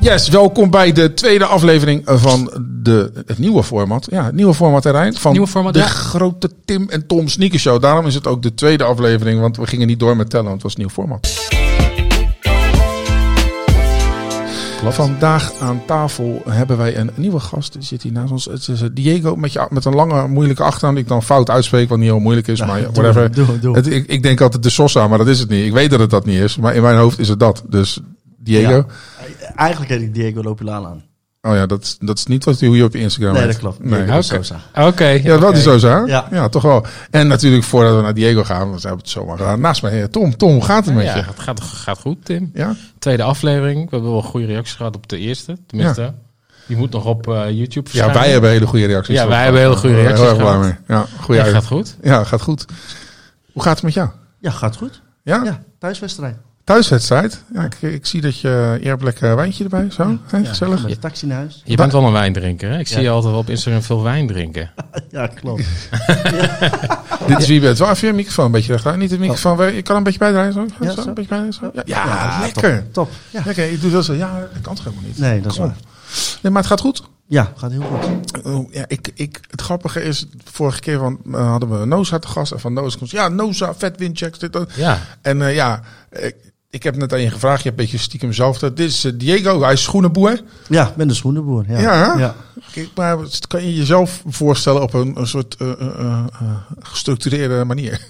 Yes, welkom bij de tweede aflevering van de, het nieuwe format. Ja, het nieuwe format Terrein van Nieuwe format, de ja. grote Tim en Tom Sneaker Show. Daarom is het ook de tweede aflevering, want we gingen niet door met tellen, want het was een nieuw format. Vandaag aan tafel hebben wij een nieuwe gast. Die zit hier naast ons. Het is eh, Diego met, je, met een lange, moeilijke achternaam die ik dan fout uitspreek, wat niet heel moeilijk is. maar whatever. doe, doe. Het, ik, ik denk altijd de Sosa, maar dat is het niet. Ik weet dat het dat niet is, maar in mijn hoofd is het dat. Dus Diego. Ja. Eigenlijk heet ik Diego Lopilala aan. Oh ja, dat, is- dat is niet wat, hoe je op je Instagram Nee, heet. dat klopt. Nee. Diego Oké. Sosa. Oké. Ja, wel die zo hè? Ja. Ja. toch wel. En natuurlijk voordat we naar Diego gaan, want ze hebben het zomaar gedaan. Naast mij, eh, Tom. Tom, hoe gaat het met Ja, je? het gaat, gaat goed, Tim. Ja? Tweede aflevering. We hebben wel goede reacties gehad op de eerste. Tenminste, die moet nog op eh, YouTube ja, verschijnen. wij hebben hele goede reacties. Ja, op. wij hebben hele goede Daar ben ik reacties Heel erg blij gehad. mee. Ja, goeie Ja, uit. gaat goed. Ja, gaat goed. Hoe gaat het met jou? Ja, gaat goed. Ja? Ja, thuiswedstrijd. Thuiswedstrijd. Ja, ik, ik zie dat je eerlijk eh, wijntje erbij, zo. hè, Ja, gezellig. Met de taxi naar huis. Je bent wel een wijndrinker, hè? Ik zie Ja. je altijd wel op Instagram veel wijn drinken. Ja, klopt. Dit is wie je bent. Wel even je microfoon een beetje recht. Niet het microfoon. waar- Je kan een beetje bijdraaien, zo. Ja, zo, zo. Een beetje bijdraaien, zo. Ja, ja, Ja, lekker. Top. top. Ja. Lekker. Ik doe dat zo. Ja, dat kan toch helemaal niet. Nee, dat is Kom waar. op. Nee, maar het gaat goed. Ja, gaat heel goed. Oh, ja, ik, ik, het grappige is, vorige keer van, eh, hadden we Noza te gast. En van Noza komt, ja, Noza, vet windchecks. Dit, dat. Ja. En eh, ja, ik, ik heb net aan je gevraagd. Je hebt een beetje stiekem zelf. dat- Dit is eh, Diego, hij is schoenenboer. Ja, ik ben de schoenenboer. Ja. Ja, hè? ja. Kijk, maar kan je jezelf voorstellen op een, een soort eh, eh, eh, eh, gestructureerde manier?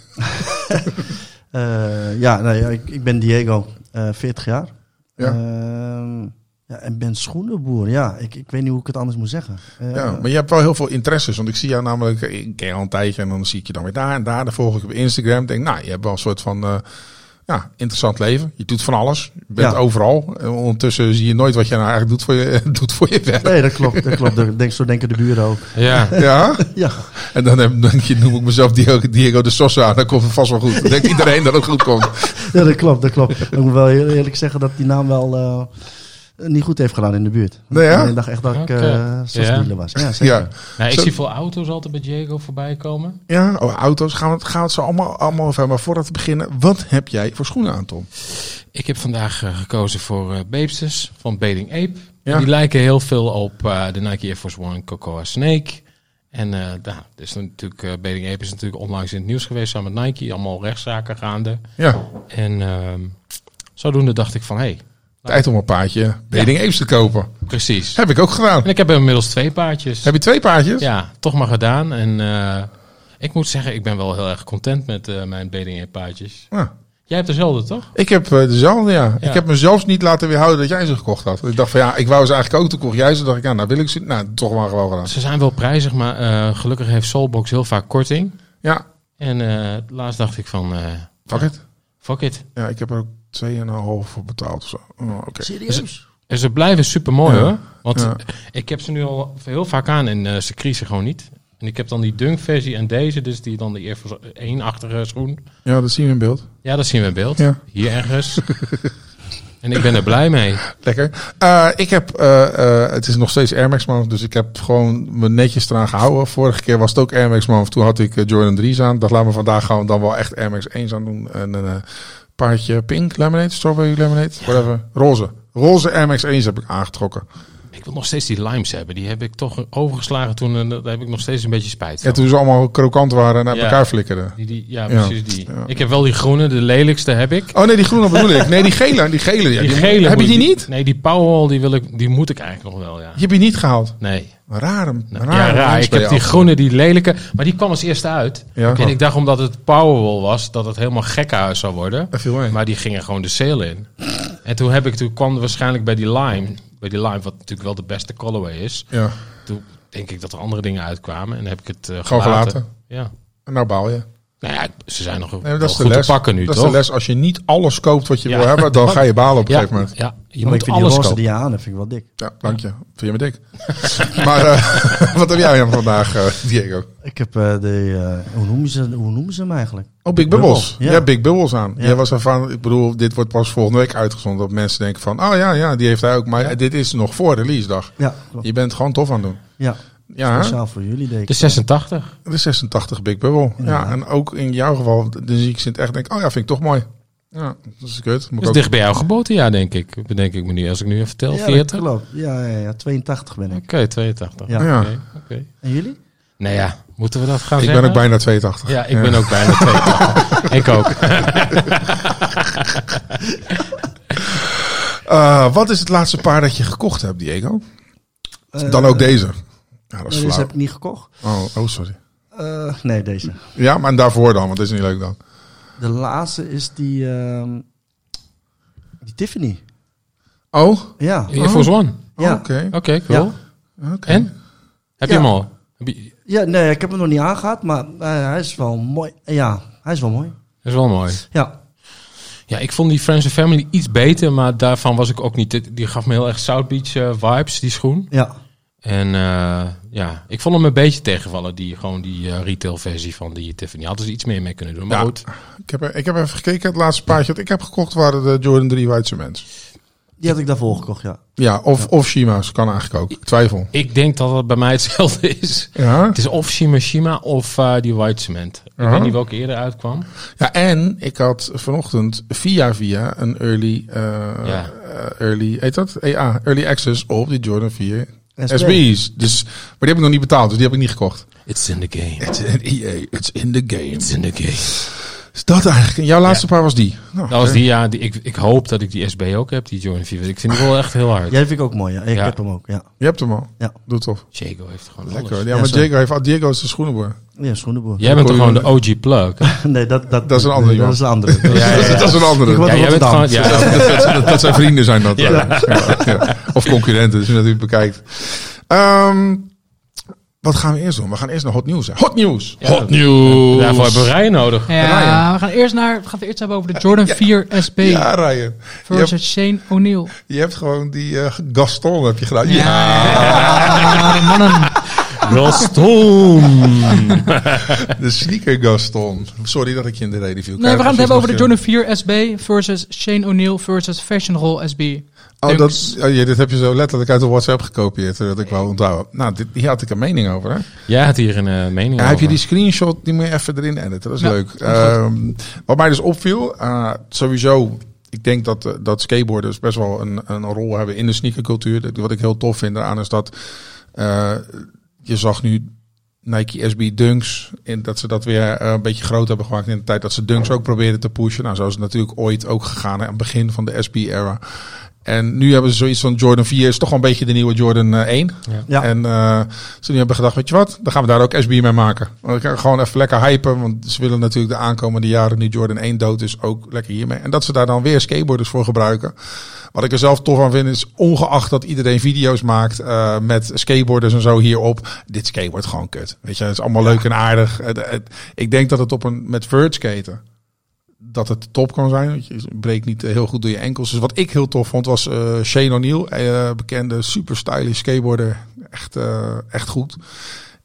Eh, ja, nou ja, ik, ik ben Diego, eh 40 jaar. Ja. Ehm, ja, en ben schoenenboer. Ja, ik, ik weet niet hoe ik het anders moet zeggen. Eh, Ja, maar je hebt wel heel veel interesses. Want ik zie jou namelijk, eh, ik ken je al een tijdje en dan zie ik je dan weer daar en daar. Dan volg ik je op Instagram. Denk, nou, je hebt wel een soort van eh, ja, interessant leven. Je doet van alles. Je bent Ja. overal. En ondertussen zie je nooit wat je nou eigenlijk doet voor je, doet voor je werk. Nee, dat klopt. Dat klopt. Dat Denk, zo denken de buren ook. Ja. Ja, Ja, en dan heb- denk je, noem ik mezelf Diego, Diego de Sosa. aan. Dan komt het vast wel goed. Dan denkt iedereen dat het goed komt. ja dat klopt. Dat klopt. Ik moet wel heel eerlijk zeggen dat die naam wel eh, niet goed heeft gedaan in de buurt. Nee, ja? Ik dacht echt dat ik eh Oké. zo'n Ja. dealer was. Ja, zeker. Ja, Nou, ik Zo- zie veel auto's altijd bij Diego voorbij komen. ja oh, auto's. Gaan we, het- gaan we het zo allemaal, allemaal over hebben. Maar voordat we beginnen, wat heb jij voor schoenen aan, Tom? Ik heb vandaag eh, gekozen voor eh Beepsters van Bading Ape. Ja. Die lijken heel veel op eh, de Nike Air Force One Cocoa Snake. En eh nou, dus natuurlijk, eh Bading Ape is natuurlijk onlangs in het nieuws geweest samen met Nike. Allemaal rechtszaken gaande. Ja, En ehm, zodoende dacht ik van, hé, hey, tijd om een paardje Beding Apes te kopen. precies. Heb ik ook gedaan. En ik heb inmiddels twee paardjes. Heb je twee paardjes? Ja, toch maar gedaan. En eh, ik moet zeggen, ik ben wel heel erg content met eh, mijn beding en paardjes. Ja. Jij hebt dezelfde, toch? Ik heb eh, dezelfde, ja. Ja. Ik heb mezelf niet laten weerhouden dat jij ze gekocht had. Ik dacht van ja, ik wou ze eigenlijk ook. Toen kocht jij ze. dacht ik, ja, nou wil ik ze. Nou, toch maar gewoon gedaan. Ze zijn wel prijzig, maar eh, gelukkig heeft Soulbox heel vaak korting. Ja, En eh, laatst dacht ik van, eh, fuck it. fuck it. Ja, ik heb er ook 2,5 voor betaald of zo. Oh, Oké. Serieus? En ze blijven super mooi Ja. hoor. Want Ja. ik heb ze nu al heel vaak aan en eh, ze kriezen gewoon niet. En ik heb dan die dunk versie en deze, dus die dan de Air Force 1-achtige schoen. Ja, dat zien we in beeld. Ja, dat zien we in beeld. Ja. Hier ergens. en ik ben er blij mee. Lekker. Eh, ik heb, eh, eh, het is nog steeds Air Max Man, dus ik heb gewoon me netjes eraan gehouden. Vorige keer was het ook Air Max Man, toen had ik eh, Jordan 3's aan. Dat laten we vandaag gewoon dan wel echt Air Max 1's aan doen. En een eh, paardje pink lemonade, strawberry lemonade, whatever. Roze. Roze Air Max 1's heb ik aangetrokken. Ik wil nog steeds die limes hebben. Die heb ik toch overgeslagen toen en daar heb ik nog steeds een beetje spijt van. Ja, toen ze allemaal krokant waren en uit Ja. elkaar flikkerden. Die, die, ja, Ja. precies die. Ja. Ik heb wel die groene, de lelijkste heb ik. Oh nee, die groene bedoel ik. Nee, die gele. Die gele. ja, die die- gele. Heb je die moet niet? Nee, die Powell, die, wil ik, die moet ik eigenlijk nog wel, ja. Je hebt die niet gehaald. Nee. Raar. Nou, ja, raar. Ik heb die groene, die lelijke. Maar die kwam als eerste uit. Ja. En ik dacht omdat het Powerwall was, dat het helemaal gekkenhuis zou worden. Dat viel mee. Maar die gingen gewoon de sale in. En toen, heb ik, toen kwam waarschijnlijk bij die lime. Bij die lime, wat natuurlijk wel de beste colorway is. Ja. Toen denk ik dat er andere dingen uitkwamen. En heb ik het eh, Gewoon gelaten. Ja. En nou baal je. Nou ja, ze zijn nog Nee, maar wel dat is goed de les. te pakken nu, dat toch? is de les. Als je niet alles koopt wat je Ja. wil hebben, dan ga je balen op een ja, gegeven moment. ja, je Maar ik moet vind die alles roze kopen. die je aan hebt, vind ik wel dik. Ja, dank je. Vind je me dik. maar eh, wat heb jij dan vandaag, eh, Diego? Ik heb eh, de. eh, hoe, noemen ze, hoe noemen ze hem eigenlijk? Oh, Big Bubbles. Bubbles, ja. Ja, Big Bubbles aan. Ja. Jij was ervan, ik bedoel, dit wordt pas volgende week uitgezonden. Dat mensen denken van, oh ja, ja, die heeft hij ook. Maar dit is nog voor release dag. Ja, klopt. Je bent gewoon tof aan het doen. Ja, Ja, hè? speciaal voor jullie, denk ik. De 86. De 86 Big Bubble. Ja, en ook in jouw geval, de zie ik ze in het echt denk, oh ja, vind ik toch mooi. Ja, dat is kut. Moet Dat is ik dicht bij jouw geboortejaar, denk ik. Bedenk ik me nu, als ik nu even tel. ja, 40? dat Oké, klopt. Ja, ja, ja, 82 ben ik. 82. Ja. Ja. Oké, oké. En jullie? Nou ja, moeten we dat gaan ik zeggen? ben ook bijna 82. Ja, ik ben ook bijna 82. ik ook. Eh, wat is het laatste paard dat je gekocht hebt, Diego? Dan ook deze. deze. Ja, dat is Eh, Deze flauw. heb ik niet gekocht. Oh, oh, sorry. Eh, nee, deze. Ja, maar daarvoor dan, want dat is niet leuk dan. De laatste is die, ehm, die Tiffany. Oh, Ja. Air Force One. oké. Ja. oké. Oké, cool. Ja. oké. En? Heb je Ja. hem al? Heb je- ja, nee, ik heb hem nog niet aangehad, maar eh, hij is wel mooi. Ja, hij is wel mooi. Dat is wel mooi. Ja. Ja, ik vond die Friends and Family iets beter, maar daarvan was ik ook niet. Die gaf me heel erg South Beach eh, vibes, die schoen. Ja. En eh, ja, ik vond hem een beetje tegenvallen, die, gewoon die eh, retail versie van die Tiffany. Hadden ze iets meer mee kunnen doen, maar Ja. goed. Ik, heb, ik heb even gekeken. Het laatste paardje dat ik heb gekocht waren de Jordan 3 White Cements. Die had ik daarvoor gekocht, ja. Ja, of, of Shima's. Kan eigenlijk ook. Ik Twijfel. Ik denk dat het bij mij hetzelfde is. Ja. Het is of Shimashima of eh, die White Cement. Ik Aha. weet niet welke eerder uitkwam. ja, en ik had vanochtend via via een early, eh, eh, early heet dat? EA, early access op die Jordan 4 SP. SB's. Dus, maar die heb ik nog niet betaald, dus die heb ik niet gekocht. It's in the game. It's in, EA, it's in the game. It's in the game. Is dat eigenlijk? Jouw laatste paar was die? Nou, Dat was die, ja, die, ik, ik hoop dat ik die SB ook heb, die Jordan 4. Ik vind die wel echt heel hard. Jij vind ik ook mooi, ja. Ik Ja. heb hem ook, ja. Je hebt hem al. Ja. Doe toch. Jago heeft gewoon Lekker. alles. Ja, Ja, maar zo. Diego, heeft, ah, Diego is de schoenenboer. Ja, schoenenboer. Jij bent toch Kon gewoon je- de OG plug? Nee, dat, dat, Dat is een andere, nee, joh. Dat is eh, een andere. Ja, ja, ja. Dat is een andere. Ik word- Ja, jij bent Rotterdam. gewoon... Ja, Dat, dat- dat- dat zijn vrienden zijn dat. Ja. Ja. Of concurrenten, dus je natuurlijk bekijkt. Ehm, wat gaan we eerst doen? We gaan eerst naar hot nieuws. hè. Hot nieuws! Ja, hot dat- nieuws! Daarvoor hebben we rijen nodig. Ryan. Ja, we gaan eerst naar, we gaan het eerst hebben over de Jordan 4 SB Ja, Ryan. Je hebt, versus Shane O'Neill. je hebt gewoon die eh, Gaston heb je gedaan. Ja. Ja, mannen. De sneaker Gaston. Sorry dat ik je in de reden viel. Nee, we gaan het hebben over de Jordan. Jordan 4 SB versus Shane O'Neill versus Fashion Roll SB. Oh, dat, Dunks. oh jee, dit heb je zo letterlijk uit de WhatsApp gekopieerd. eh, Dat ik wou onthouden. Nou, dit, hier had ik een mening over. Hè? Jij had hier een eh, mening Ja, over. heb je die screenshot, die moet je even erin editen. Dat is Ja, leuk. Ehm, wat mij dus opviel, eh, sowieso, ik denk dat, eh, dat skateboarders best wel een, een rol hebben in de sneakercultuur. Dat- Wat ik heel tof vind eraan is dat eh, je zag nu Nike SB Dunks, in, dat ze dat weer eh, een beetje groot hebben gemaakt in de tijd dat ze Dunks ook probeerden te pushen. Nou, zo is het natuurlijk ooit ook gegaan, hè, aan het begin van de SB-era. En nu hebben ze zoiets van Jordan 4 is toch wel een beetje de nieuwe Jordan eh, 1. Ja. En eh, ze nu hebben gedacht, weet je wat, dan gaan we daar ook SB mee maken. Want ik gewoon even lekker hypen, want ze willen natuurlijk de aankomende jaren, nu Jordan 1 dood is, ook lekker hiermee. En dat ze daar dan weer skateboarders voor gebruiken. Wat ik er zelf tof aan vind, is ongeacht dat iedereen video's maakt eh, met skateboarders en zo hierop, dit skateboard gewoon kut. Weet je, het is allemaal leuk en aardig. Het- het- ik denk dat het op een, met vert skaten, dat het top kan zijn. Want je breekt niet eh, heel goed door je enkels. Dus wat ik heel tof vond was eh, Shane O'Neill, eh, bekende super stylish skateboarder. Echt, eh, echt goed.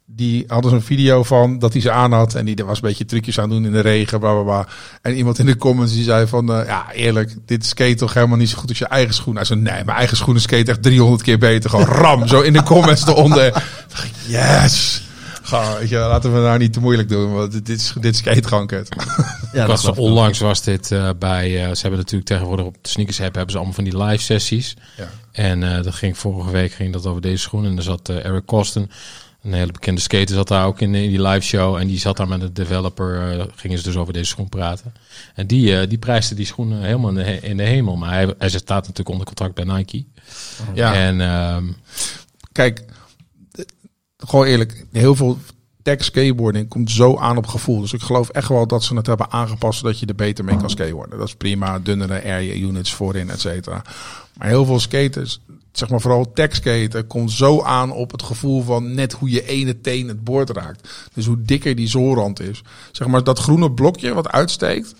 Die hadden zo'n video van dat hij ze aan had en die er was een beetje trucjes aan doen in de regen, bla bla bla. En iemand in de comments die zei van, eh, ja eerlijk, dit skate toch helemaal niet zo goed als je eigen schoen. Hij zei, nee, mijn eigen schoenen skate echt 300 keer beter. Gewoon ram, zo in de comments eronder. Dacht ik, Yes! Gewoon, weet je, wel, laten we het nou niet te moeilijk doen, want dit, dit, is- dit skate gewoon kut. Ja, Ik dat was, klopt. onlangs was dit eh, bij... eh, ze hebben natuurlijk tegenwoordig op de sneakers app hebben ze allemaal van die live sessies. Ja. En eh, dat ging vorige week ging dat over deze schoen. En daar zat eh, Eric Kosten, een hele bekende skater, zat daar ook in, in die live show. En die zat daar met de developer, eh, gingen ze dus over deze schoen praten. En die, eh, die prijsde die schoen eh, helemaal in de, he- in de hemel. Maar hij, hij staat natuurlijk onder contract bij Nike. Ja. En ehm, kijk, eh, gewoon eerlijk, heel veel tech skateboarding komt zo aan op gevoel. Dus ik geloof echt wel dat ze het hebben aangepast zodat je er beter mee kan skateboarden. Dat is prima, dunnere area units voorin, et cetera. Maar heel veel skaters, zeg maar vooral tech skaten, komt zo aan op het gevoel van net hoe je ene teen het boord raakt. Dus hoe dikker die zoolrand is. Zeg maar dat groene blokje wat uitsteekt,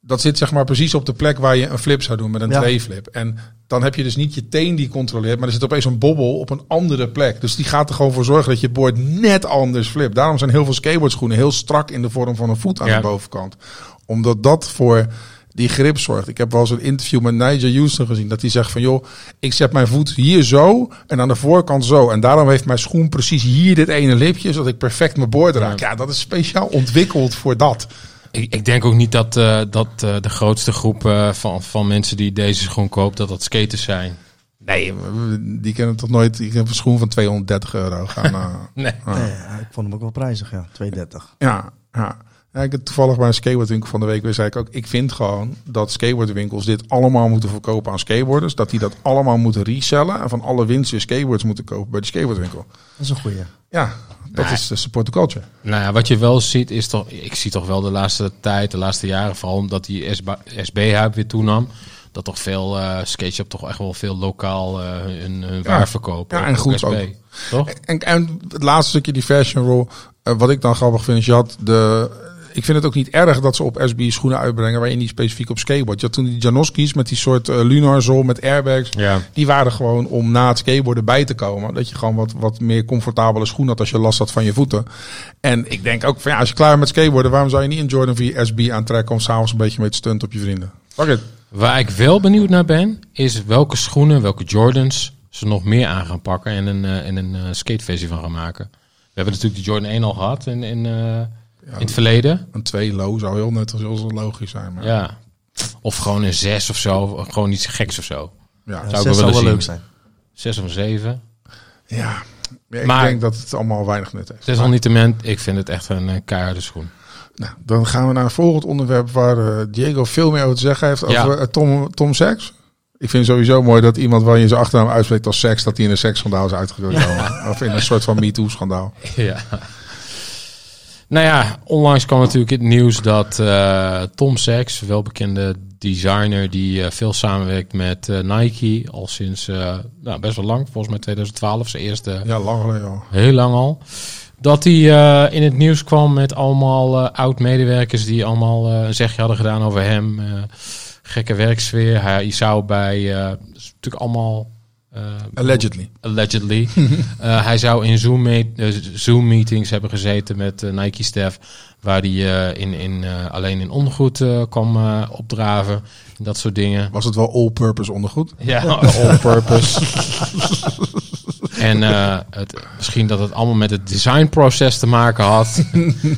dat zit zeg maar precies op de plek waar je een flip zou doen met een Ja. twee flip. En dan heb je dus niet je teen die controleert, maar er zit opeens een bobbel op een andere plek. Dus die gaat er gewoon voor zorgen dat je board net anders flipt. Daarom zijn heel veel skateboardschoenen heel strak in de vorm van een voet aan Ja. de bovenkant. Omdat dat voor die grip zorgt. Ik heb wel eens een interview met Nigel Houston gezien dat hij zegt van joh, ik zet mijn voet hier zo en aan de voorkant zo. En daarom heeft mijn schoen precies hier dit ene lipje, zodat ik perfect mijn board raak. Ja, dat is speciaal ontwikkeld voor dat. Ik, ik denk ook niet dat, eh, dat eh, de grootste groep eh, van, van mensen die deze schoen koopt, dat dat skaters zijn. Nee, die kennen toch nooit. Ik heb een schoen van 230 euro gaan. eh, Nee. Nee, ja, ik vond hem ook wel prijzig, ja. 2,30. Ja, ja. ja ik heb toevallig bij een skateboardwinkel van de week weer zei ik ook, ik vind gewoon dat skateboardwinkels dit allemaal moeten verkopen aan skateboarders. Dat die dat allemaal moeten resellen en van alle winst weer skateboards moeten kopen bij de skateboardwinkel. Dat is een goeie. Ja, dat Nee. is de support the culture. Nou ja, wat je wel ziet is toch... Ik zie toch wel de laatste tijd, de laatste jaren... vooral omdat die SB SB-hype weer toenam... dat toch veel eh skateshop toch echt wel veel lokaal eh, hun, hun Ja. waar verkopen. Ja, en goed ook. Toch? En, en het laatste stukje, die fashion roll. eh, wat ik dan grappig vind, is je had de... Ik vind het ook niet erg dat ze op SB schoenen uitbrengen... waar je niet specifiek op skateboard. Je had toen die Janoski's met die soort eh, lunar zool met airbags. Ja. Die waren gewoon om na het skateboarden bij te komen. Dat je gewoon wat, wat meer comfortabele schoen had als je last had van je voeten. En ik denk ook van ja, als je klaar bent met skateboarden... waarom zou je niet een Jordan 4 SB aantrekken... om s'avonds een beetje mee te stunt op je vrienden? Fuck it. Waar ik wel benieuwd naar ben, is welke schoenen, welke Jordans ze nog meer aan gaan pakken en een, eh, en een eh, skateversie van gaan maken. We hebben natuurlijk de Jordan 1 al gehad in, in, eh, in het verleden. Een 2 low zou heel net als heel logisch zijn. Maar ja. Ja. Of gewoon een 6 of zo, of gewoon iets geks of zo. Ja. Ja, wel zes zou willen wel zien. leuk zijn. 6 of 7. ik Maar- denk dat het allemaal weinig nut heeft. Desalniettemin, ik vind het echt een eh, keiharde schoen. Nou, dan gaan we naar een volgend onderwerp waar eh, Diego veel meer over te zeggen heeft. Ja. Over eh, Tom, Tom Seks. Ik vind sowieso mooi dat iemand waar je zijn achternaam uitspreekt als seks, dat hij in een seksschandaal is uitgedrukt. Of in een soort van MeToo-schandaal. Ja. Nou ja, onlangs kwam natuurlijk het nieuws dat eh, Tom Sachs, welbekende designer die eh, veel samenwerkt met eh, Nike, al sinds eh, nou, best wel lang, volgens mij 2012, zijn eerste, Ja, lang geleden al. heel lang al, dat hij eh, in het nieuws kwam met allemaal eh, oud-medewerkers die allemaal eh, een zegje hadden gedaan over hem. eh, gekke werksfeer. Hij zou bij, eh, dat is natuurlijk allemaal... eh, Allegedly. allegedly. Eh, hij zou in Zoom, meet- eh, Zoom meetings hebben gezeten met eh, Nike staff, waar hij eh, in, in, eh, alleen in ondergoed eh, kwam eh, opdraven. en Dat soort dingen. Was het wel all-purpose ondergoed? Ja, all purpose. en eh, het, misschien dat het allemaal met het designproces te maken had.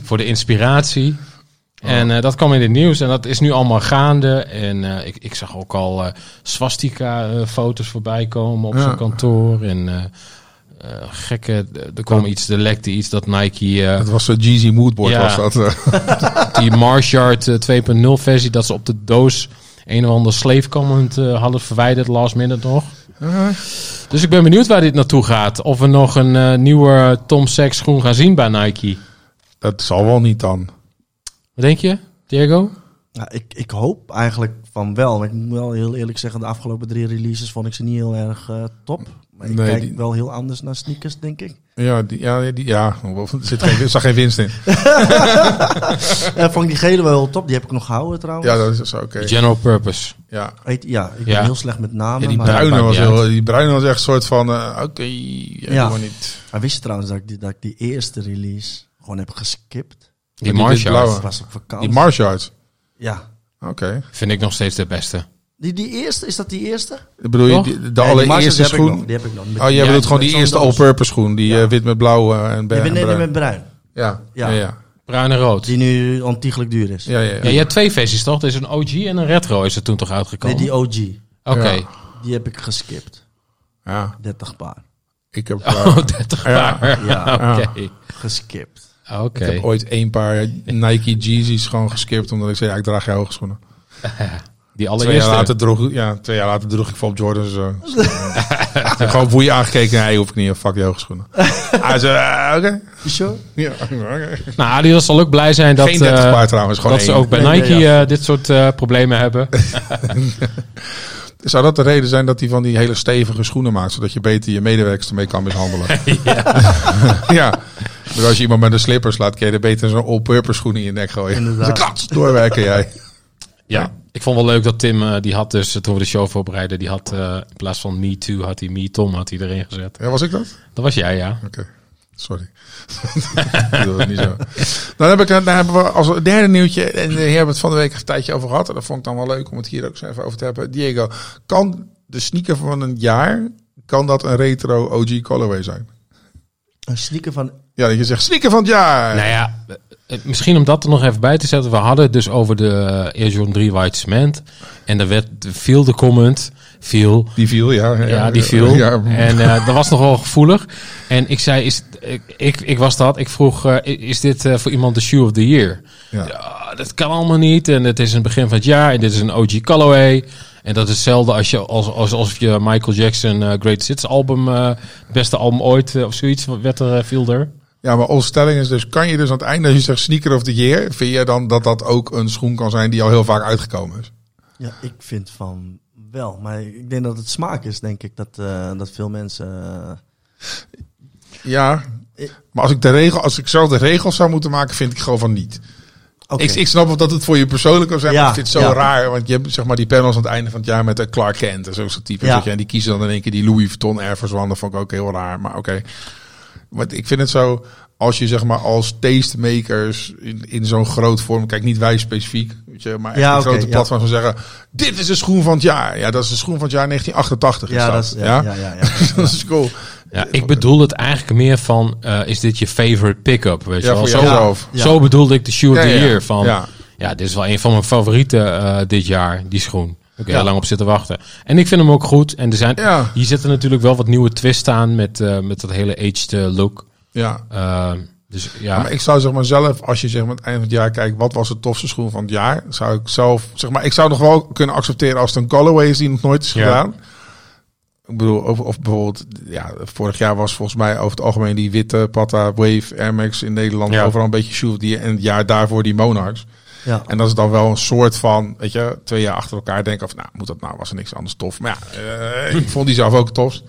voor de inspiratie. En eh, dat kwam in het nieuws en dat is nu allemaal gaande. En eh, ik, ik zag ook al eh swastika-foto's voorbij komen op Ja. zijn kantoor. En eh, eh, gekke, er kwam iets, er lekte iets dat Nike eh, Het was zo'n Jeezy moodboard Ja. was dat. eh. die Marshard eh, 2.0 versie, dat ze op de doos een of ander slave comment eh, hadden verwijderd, last minute nog. Uh-huh. Dus ik ben benieuwd waar dit naartoe gaat. Of we nog een eh, nieuwe Tom Sachs schoen gaan zien bij Nike. Dat zal wel niet dan. Wat denk je, Diego? Ja, ik, ik hoop eigenlijk van wel. Maar ik moet wel heel eerlijk zeggen, de afgelopen drie releases vond ik ze niet heel erg eh, top. Maar ik Nee, kijk die- wel heel anders naar sneakers, denk ik. Ja, die, ja, die, ja. er zit geen, er zat geen winst in. Eh vond ik die gele wel heel top. Die heb ik nog gehouden trouwens. Ja, dat is oké. General purpose. Ja. Heet- ja ik Ja. ben heel slecht met namen. Ja, die, maar, bruine maakt was niet heel, die bruine was echt een soort van, eh, oké, ja, Ja. doe maar niet. Maar wist je trouwens dat ik, die, dat ik die eerste release gewoon heb geskipt? dit Die Marshard blauwe. Ik was op vakantie. Oh. Die Marshard. ja. Oké. vind ik nog steeds de beste. Die, die eerste, is dat die eerste? Ik bedoel, je Toch? die- de, Nee, die Marshall, allereerste die heb ik schoen. nog, die heb ik nog. Met- Oh, jij Ja, bedoelt gewoon met die zo'n eerste doos. all-purpose schoen. Die Ja. eh, wit met blauw eh, en, Nee, en nee, nee, bruin. met bruin. Ja. Ja. Ja. Ja, Bruin en rood. Die nu ontiegelijk duur is. ja. ja, ja. Ja, je hebt twee versies toch? Er is een OG en een retro is er toen toch Nee, uitgekomen? die OG. Oké. Ja. Die heb ik geskipt. 30 paar. Ik, heb, eh, Oh, 30 Ja. jaar. Ja. Oké. Geskipt. Oké. ik heb ooit één paar Nike Jeezys gewoon geskipt. Omdat ik zei, ja, ik draag geen hoge schoenen. Die Twee jaar, allereerste. later droeg, ja, twee jaar later droeg ik Bob Jordans. eh. ik heb gewoon boeien aangekeken. Hij hoef ik niet. eh, Fuck die hoge schoenen. Hij zei, eh, oké. Ja, oké. Nou, Adidas zal ook blij zijn dat... Geen 30 eh, paar trouwens. Gewoon dat ze één. ook bij Nee, Nike nee, eh, dit soort eh, problemen hebben. Zou dat de reden zijn dat hij van die hele stevige schoenen maakt, zodat je beter je medewerkers ermee kan mishandelen? ja. Maar als je iemand met een slippers laat, kun je er beter zo'n all-purpose schoen in je nek gooien. Inderdaad. Dus klats, doorwerken jij. Ja, ik vond wel leuk dat Tim, eh, die had dus, eh, toen we de show voorbereidden, die had eh, in plaats van Me Too, had hij Me Tom had hij erin gezet. Ja, was ik dat? Dat was jij, ja. Oké. Sorry. Ik bedoel het niet zo. Dan, heb ik, dan hebben we als derde nieuwtje, en hier hebben we het van de week een tijdje over gehad, en dat vond ik dan wel leuk om het hier ook eens even over te hebben. Diego, kan de sneaker van een jaar, kan dat een retro OG colorway zijn? Een sneaker van... Ja, dat je zegt sneaker van het jaar! Nou ja, Eh, Misschien om dat er nog even bij te zetten. We hadden het dus over de eh, Air Jordan 3 White Cement. En daar werd, viel de comment, viel... Die viel, ja. Ja, die viel. Ja, En eh, dat was nogal gevoelig. En ik zei, is, ik, ik, ik was dat. Ik vroeg, eh, is dit eh, voor iemand de shoe of the year? Ja. Ja, Ah, dat kan allemaal niet. En het is een begin van het jaar. En dit is een OG Callaway. En dat is hetzelfde als je, als, als, alsof je Michael Jackson eh, Great Hits album, eh, het beste album ooit eh, of zoiets, werd er, eh, viel er. Ja, maar onze stelling is dus, kan je dus aan het einde, als je zegt sneaker of the year, vind je dan dat dat ook een schoen kan zijn die al heel vaak uitgekomen is? Ja, ik vind van wel. Maar ik denk dat het smaak is, denk ik, dat, eh, dat veel mensen... eh, Ja. Maar als ik, de regel, als ik zelf de regels zou moeten maken, vind ik gewoon van niet. oké. Ik, ik snap wel dat het voor je persoonlijk kan zijn, maar Ja, ik vind het zo ja. raar. Want je hebt zeg maar die panels aan het einde van het jaar met de Clark Kent en zo'n soort type. Ja. weet je, En die kiezen dan in één keer die Louis Vuitton Air Force One. Dat vond ik ook heel raar, maar oké. Want ik vind het zo, als je zeg maar als tastemakers in, in zo'n groot vorm... Kijk, niet wij specifiek, weet je, maar echt Ja, een oké, grote ja. platform van zeggen... Dit is de schoen van het jaar. Ja, dat is de schoen van het jaar 1988. ja, dat is, ja, ja? Ja, ja, dat is cool. Ja, ik bedoel het eigenlijk meer van, eh, is dit je favorite pick-up? Weet Ja, je wel? voor Zo, jouzelf. Ja. zo bedoelde ik de shoe of Ja, the ja, ja. year. Van, Ja. ja. dit is wel een van mijn favorieten eh, dit jaar, die schoen. Ik heb Ja. heel lang op zitten wachten. En ik vind hem ook goed. En er zijn, Ja. hier zitten natuurlijk wel wat nieuwe twists aan met, eh, met dat hele aged eh, look. Ja. Eh, dus ja, Ja, maar ik zou zeg maar zelf, als je zeg maar het eind van het jaar kijkt, wat was de tofste schoen van het jaar? Zou ik zelf, zeg maar, ik zou nog wel kunnen accepteren als het een colorway is die nog nooit is Ja. gedaan. Ik bedoel, of, of bijvoorbeeld, ja, vorig jaar was volgens mij over het algemeen die witte Pata Wave Air Max in Nederland Ja. overal een beetje shoe die en het jaar daarvoor die Monarchs. ja. En dat is dan wel een soort van, weet je, twee jaar achter elkaar denken of, nou, moet dat nou, was er niks anders tof. Maar ja, eh, ik vond die zelf ook tof.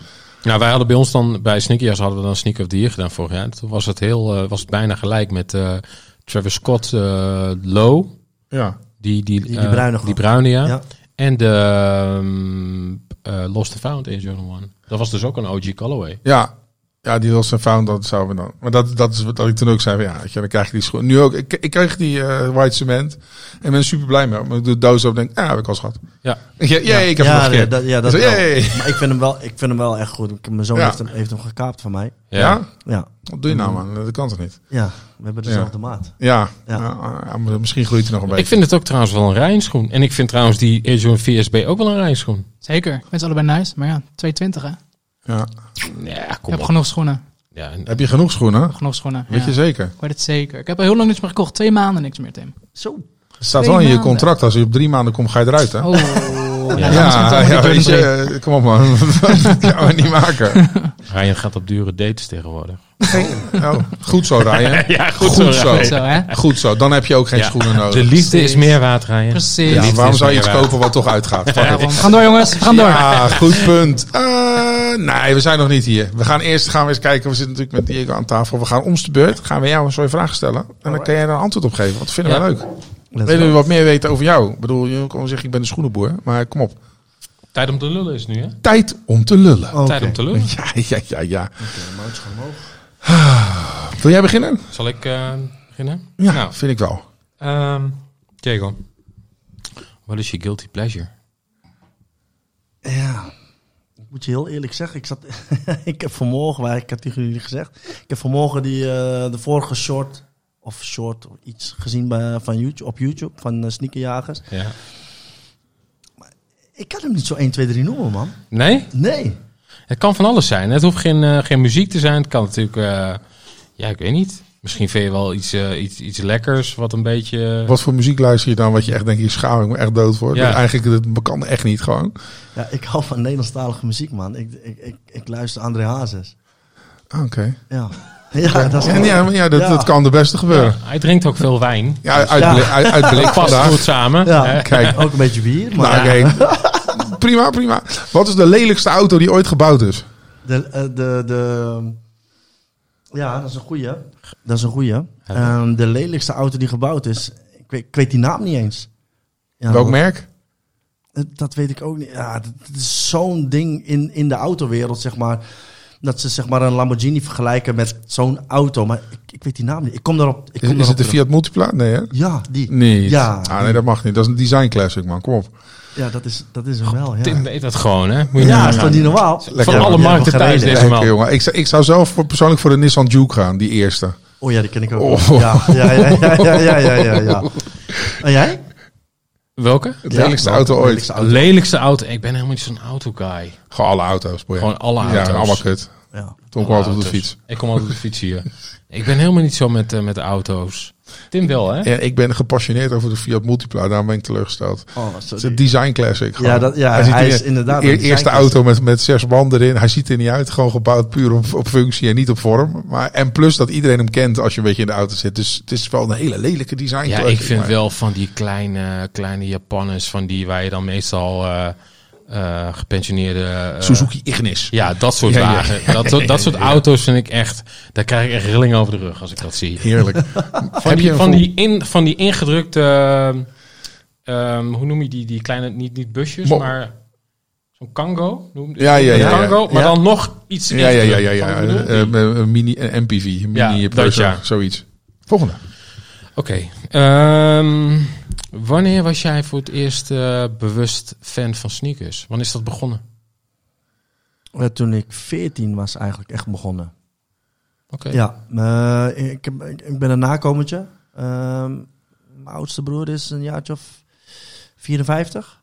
nou, wij hadden bij ons dan, bij Sneakerjas hadden we dan Sneak of the Year gedaan vorig jaar. Toen was het, heel, eh, was het bijna gelijk met eh, Travis Scott eh, Low. Ja. Die, die, Die- die eh, bruine Die gewoon. bruine, ja. Ja. En de ehm, eh, Lost and Found in Journal One. Dat was dus ook een OG Callaway. Ja, ja die Lost and Found, dat zouden we dan. Maar dat, dat is wat ik toen ook zei. Van, ja, weet je, dan krijg je die schoen. Nu ook, ik, ik kreeg die eh, white cement en ben er super blij mee. Maar ik doe de doos op en denk, ja, heb ik al eens gehad. Ja. Ja, jee, ik heb ja, hem nog een nee, keer. dat, ja, dat Zo, wel. jee. Maar ik vind, hem wel, ik vind hem wel echt goed. Ik- Mijn zoon Ja. heeft, hem, heeft hem gekaapt van mij. Ja? Ja, Wat doe je nou, man? Dat kan toch niet? ja we hebben dezelfde maat. Ja, Ja. Nou, ja, maar misschien groeit hij nog een beetje. Ik vind het ook trouwens wel een rijnschoen. En ik vind trouwens die Air Jordan VSB ook wel een rijnschoen. Zeker. Ik vind ze allebei nice. Maar ja, 220 hè. ja. Ja, Ik kom heb op. genoeg schoenen. Ja, en- Heb je genoeg schoenen? Genoeg schoenen. Weet ja. je zeker? Ik weet het zeker. Ik heb al heel lang niks meer gekocht. Twee maanden niks meer, Tim. Zo. Het staat Twee wel in je maanden. contract. Als je op drie maanden komt, ga je eruit, hè? Oh. Ja, ja, ja, weet je, je. eh, kom op man, dat gaan we niet maken. Ryan gaat op dure dates tegenwoordig. Oh, goed zo, Ryan. ja, Goed zo. Ryan. Zo hè. Goed zo, dan heb je ook geen Ja. schoenen nodig. De liefde is Precies. meer waard, Ryan. Precies. Ja, Liefde waarom is zou je meer iets waard. kopen wat toch uitgaat? Fuck it. We gaan door jongens. We gaan door. Ja, goed punt. Eh, nee, we zijn nog niet hier. We gaan eerst gaan we eens kijken. We zitten natuurlijk met Diego aan tafel. We gaan om de beurt. Gaan we jou een soort vraag stellen. En dan kan jij daar een antwoord op geven. Want dat vinden Ja. wij leuk. Let's Willen go. we wat meer weten over jou? Ik bedoel, je kan wel zeggen ik ben een schoenenboer. Maar kom op. Tijd om te lullen is het nu, hè? Tijd om te lullen. Oké. Tijd om te lullen. Ja, ja, ja, ja. Oké, de mouwtjes gaan omhoog. Wil jij beginnen? Zal ik eh, beginnen? Ja, Nou, vind ik wel. ehm Diego. Wat is je guilty pleasure? Ja. Ik moet je heel eerlijk zeggen, ik, zat, ik heb vanmorgen, maar ik heb tegen jullie gezegd, ik heb vanmorgen die, eh, de vorige short, of short, of iets gezien bij, van YouTube, op YouTube, van eh, Sneakerjagers. Ja. Ik kan hem niet zo 1, 2, 3 noemen, man. Nee? Nee. Het kan van alles zijn. Het hoeft geen, eh, geen muziek te zijn. Het kan natuurlijk, eh, ja, ik weet niet. Misschien vind je wel iets, eh, iets, iets lekkers wat een beetje. Wat voor muziek luister je dan? Wat je echt denkt, hier schaam ik me echt dood voor. Ja. Dat Eigenlijk, dat kan echt niet gewoon. Ja, ik hou van Nederlandstalige muziek, man. Ik, ik, ik, ik luister André Hazes. Ah, Oké. Ja. Ja, dat is En ja, maar ja, dat, Ja. dat kan de beste gebeuren. Hij drinkt ook veel wijn. Ja, uitblik, Ja. Uit, uitblik Dat past vandaag. goed samen. Ja. hè? Kijk, ook een beetje bier, maar nou, oké. prima, prima. Wat is de lelijkste auto die ooit gebouwd is? de, eh, de, de... Ja, dat is een goeie. Dat is een goeie. Ehm, de lelijkste auto die gebouwd is, ik weet, ik weet die naam niet eens. Ja, Welk dat- eh, merk? Dat weet ik ook niet. Ja, dat, dat is zo'n ding in, in de autowereld, zeg maar. Dat ze zeg maar een Lamborghini vergelijken met zo'n auto. Maar ik, ik weet die naam niet. Ik kom daarop. Ik Is, is kom het de daarop terug. Fiat Multipla? Nee, hè? Ja, die. Niet. Ja. Ah, nee, dat mag niet. Dat is een design classic, man. Kom op. Ja, dat is, dat is hem wel. Ja. Tim weet dat gewoon, hè? Moet je Ja, nagaan. is toch niet normaal? Lekker. van alle Ja, markten we gaan thuis rijden. deze Lekker, man. jongen. Ik, zou- ik zou zelf voor, persoonlijk voor de Nissan Juke gaan, die eerste. Oh ja, die ken ik ook. Oh. Ja, ja, ja, ja, ja, ja, ja, ja, ja. En jij? Welke? Het lelijkste Ja, auto de ooit. lelijkste auto. Lelijkste auto. Ik ben helemaal niet zo'n auto guy. Gewoon alle auto's. boeien. Gewoon alle Ja, auto's. en allemaal kut. Ja. Toen kwam altijd op de fiets. Ik kom altijd op de fiets hier. Ik ben helemaal niet zo met, eh, met auto's. Tim wel, hè? En ik ben gepassioneerd over de Fiat Multipla. Daarom ben ik teleurgesteld. Oh, Het sorry. is een design classic. gewoon. Ja, dat, ja Hij hij, ziet er- is inderdaad... E- een eerste zeiker. auto met, met zes banden erin. Hij ziet er niet uit. Gewoon gebouwd puur op, op functie en niet op vorm. Maar, en plus dat iedereen hem kent als je een beetje in de auto zit. Dus het is wel een hele lelijke design. Ja, classic, ik vind maar- wel van die kleine, kleine Japanners, van die waar je dan meestal eh, eh, gepensioneerde... eh, Suzuki Ignis. Ja, dat soort Ja, ja. wagen. Dat, soort- dat soort auto's vind ik echt... Daar krijg ik echt rillingen over de rug als ik dat zie. Heerlijk. Heb je een van, vol- die in, van die ingedrukte... ehm, hoe noem je die, die kleine... Niet, niet busjes, Mo- maar... Zo'n Kango? Noem, Ja, ja, een ja, ja. Kango, maar Ja. dan nog iets Ja, ja, ja, ja. ingedrukt. ja. Wat bedoel je? Eh, eh, een mini een MPV. Een Ja, mini dat Peugeot, ja. Zoiets. Volgende. Oké. ehm, wanneer was jij voor het eerst eh, bewust fan van sneakers? Wanneer is dat begonnen? Ja, toen ik 14 was eigenlijk echt begonnen. Oké. Ja, maar eh, ik, heb- ik- ik ben een nakomertje. Ehm, mijn oudste broer is een jaartje of 54.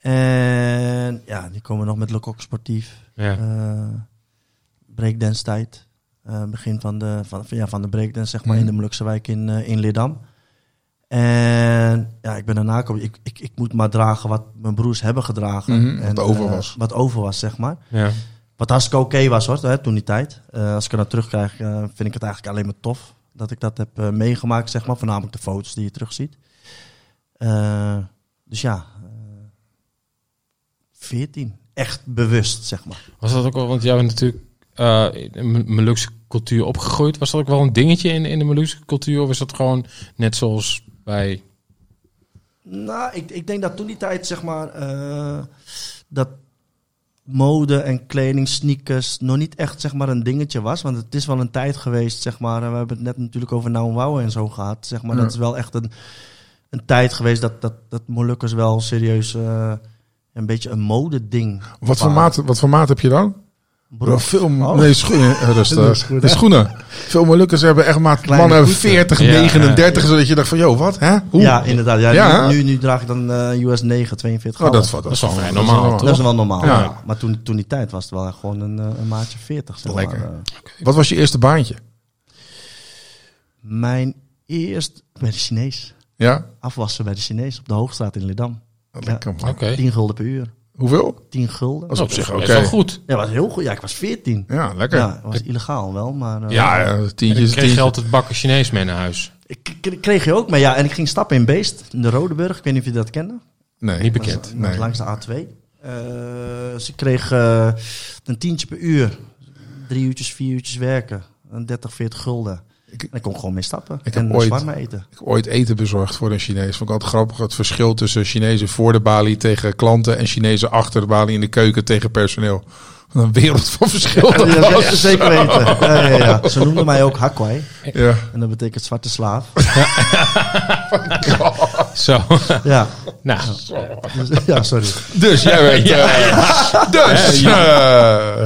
En ja, die komen nog met Lecoq Sportief. Ja. eh breakdance tijd. Eh, begin van de, van, van- ja, van de breakdance, zeg maar, Mm. in de Molukse wijk in, eh, in Leerdam. En ja, ik ben daarna komen. Ik, ik, ik moet maar dragen wat mijn broers hebben gedragen. Mhm, wat en, over eh, was. wat over was, zeg maar. ja. Wat hartstikke oké was hoor, hè, toen die tijd. Eh, als ik er naar terugkijk, eh, vind ik het eigenlijk alleen maar tof. Dat ik dat heb eh, meegemaakt, zeg maar. Voornamelijk de foto's die je terugziet. Eh dus ja, eh, 14. Echt bewust, zeg maar. Was dat ook wel, want jij bent natuurlijk eh, in de M- Molukse cultuur opgegroeid. Was dat ook wel een dingetje in, in de Molukse cultuur? Of is dat gewoon net zoals bij... Nou, ik, ik denk dat toen die tijd, zeg maar, eh, dat mode en kleding, sneakers, nog niet echt zeg maar, een dingetje was. Want het is wel een tijd geweest, zeg maar. En we hebben het net natuurlijk over Nou en Wauw en zo gehad. Zeg maar. Ja. Dat is wel echt een, een tijd geweest dat, dat, dat Molukkers wel serieus eh, een beetje een modeding. Wat voor, waren. maat, wat voor maat heb je dan? Bro, Broek. veel, Oh. nee, schoenen, eh, rustig. Dat De is schoenen. goed, Veel Molukkers hebben echt maat Kleine mannen voeten. 40, Ja, 39, zodat je dacht van, joh, wat, hè? Hoe? Ja, inderdaad. Ja, Ja. Nu, nu, nu draag ik dan eh, US 9, 42 oh, dat, graden. dat, is wel gewoon- vrij dat normaal, Dat is wel normaal. Ja. ja. Maar toen, toen die tijd was het wel echt gewoon een, eh, een maatje 40. Zeg maar. Lekker. Eh, Wat was je eerste baantje? Mijn eerst bij de Chinees. Ja? Afwassen bij de Chinees op de Hoogstraat in Leerdam. Lekker, man. Oké. 10 gulden per uur. Hoeveel? 10 gulden. Dat is Nou, op zich best oké. Nou, wel goed. Ja, was heel goed. Ja, ik was 14. Ja, lekker. Ja, Ja, het was illegaal wel, maar... eh, eh, En ik tientjes, kreeg tientjes. je altijd bakken Chinees mee naar huis. Ik k- k- kreeg je ook mee, ja. En ik ging stappen in Beest, in de Rodeburg. Ik weet niet of je dat kende. Nee. Niet Dat bekend. is nee. Langs de A2. Eh, dus ik kreeg eh, een tientje per uur. Drie uurtjes, vier uurtjes werken. Een 30, 40 gulden. Ik- En ik kon gewoon mee stappen. Ik heb en ooit- zwarma eten. Ik heb ooit eten bezorgd voor een Chinees. Vond ik altijd grappig het verschil tussen Chinezen voor de balie tegen klanten en Chinezen achter de balie in de keuken tegen personeel. Wat een wereld van verschil. dat Ja, was. dat zeker weten. Ja, ja, ja. Ze noemden mij ook Hakwai. Ja. En dat betekent zwarte slaaf. Zo. ja. nou, Dus- ja, sorry. Dus jij bent. Ja, eh, Dus. eh,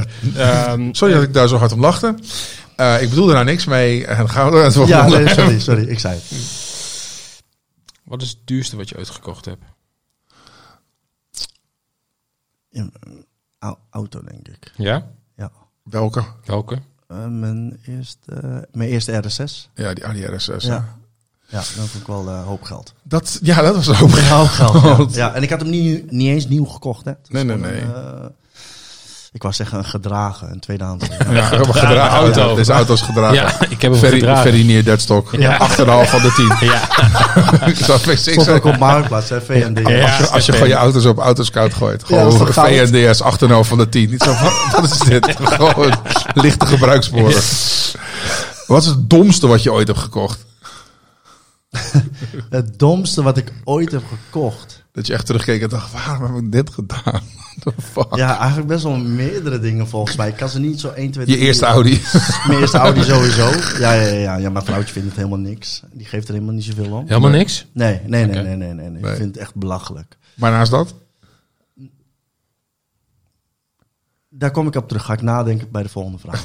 ehm, sorry dat ik daar zo hard om lachte. Eh, ik bedoelde daar niks mee. En dan gaan we naar het volgende. Ja, nee, sorry, sorry. Ik zei het. wat is het duurste wat je ooit gekocht hebt? Ja, au- Auto, denk ik. Ja? Ja. Welke? Welke? Eh, mijn, eerste, mijn eerste RSS. Ja, die Audi RSS. Ja. Ja. Ja, dat vond ik wel eh, hoop geld. Dat, ja, dat was ook. Hoop geld. Ja. ja, en ik had hem niet, niet eens nieuw gekocht, hè? Het was Nee, nee, gewoon, nee. eh, ik wou zeggen een gedragen, een tweedehands. Ja, we hebben gedragen. auto. Ja, deze auto's gedragen. Ja, ik heb hem Ah, Ferry, gedragen. Ferry neer Deadstok. Ja. Achterhalf van de tien. Ja. ik zag precies Stond zo- ook op Marktplaats, hè? VND. Ja. Als je, als je gewoon je auto's op Autoscout gooit. dat is Gewoon toch goud? VNDS 8,5 van de 10. Niet zo van, wat is dit? Gewoon lichte gebruikssporen. Wat is het domste wat je ooit hebt gekocht? Het domste wat ik ooit heb gekocht. Dat je echt terugkeek en dacht, waarom heb ik dit gedaan? What the fuck? Ja, eigenlijk best wel meerdere dingen volgens mij. Ik kan ze niet zo 1, 2, 3... Je eerste Audi. Mijn eerste Audi sowieso. Ja, ja, ja, ja. Mijn vrouwtje vindt het helemaal niks. Die geeft er helemaal niet zoveel om. Helemaal niks? Nee, nee, nee, Oké. nee, nee, nee, nee. Nee. Ik vind het echt belachelijk. Maar naast dat? Daar kom ik op terug. Ga ik nadenken bij de volgende vraag.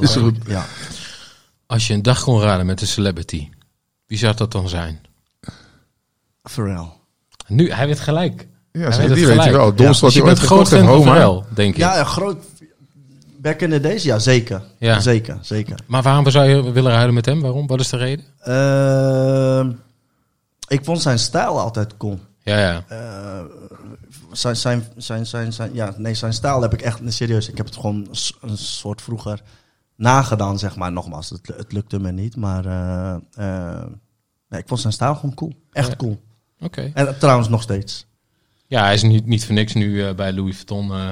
Is goed. Ja. Als je een dag kon raden met een celebrity, wie zou dat dan zijn? Pharrell. Nu, hij weet gelijk. Ja, Hij zeg, weet het die weet je gelijk. wel. Het domste wat Dus je hij bent ooit groot gekocht heeft, fan van Homa. Pharrell, denk ik. Ja, een groot. Back in the days, ja, zeker. Ja. Zeker, zeker. Maar waarom zou je willen ruilen met hem? Waarom? Wat is de reden? Ehm, ik vond zijn stijl altijd cool. Ja, ja. Eh, zijn, zijn, zijn, zijn, zijn, ja, nee, zijn stijl heb ik echt, nee, serieus, ik heb het gewoon s- een soort vroeger nagedaan, zeg maar. Nogmaals, het, het lukte me niet, maar eh, eh, nee, ik vond zijn stijl gewoon cool. Echt Ja. cool. Oké. En eh, trouwens nog steeds. Ja, hij is niet, niet voor niks nu eh, bij Louis Vuitton eh,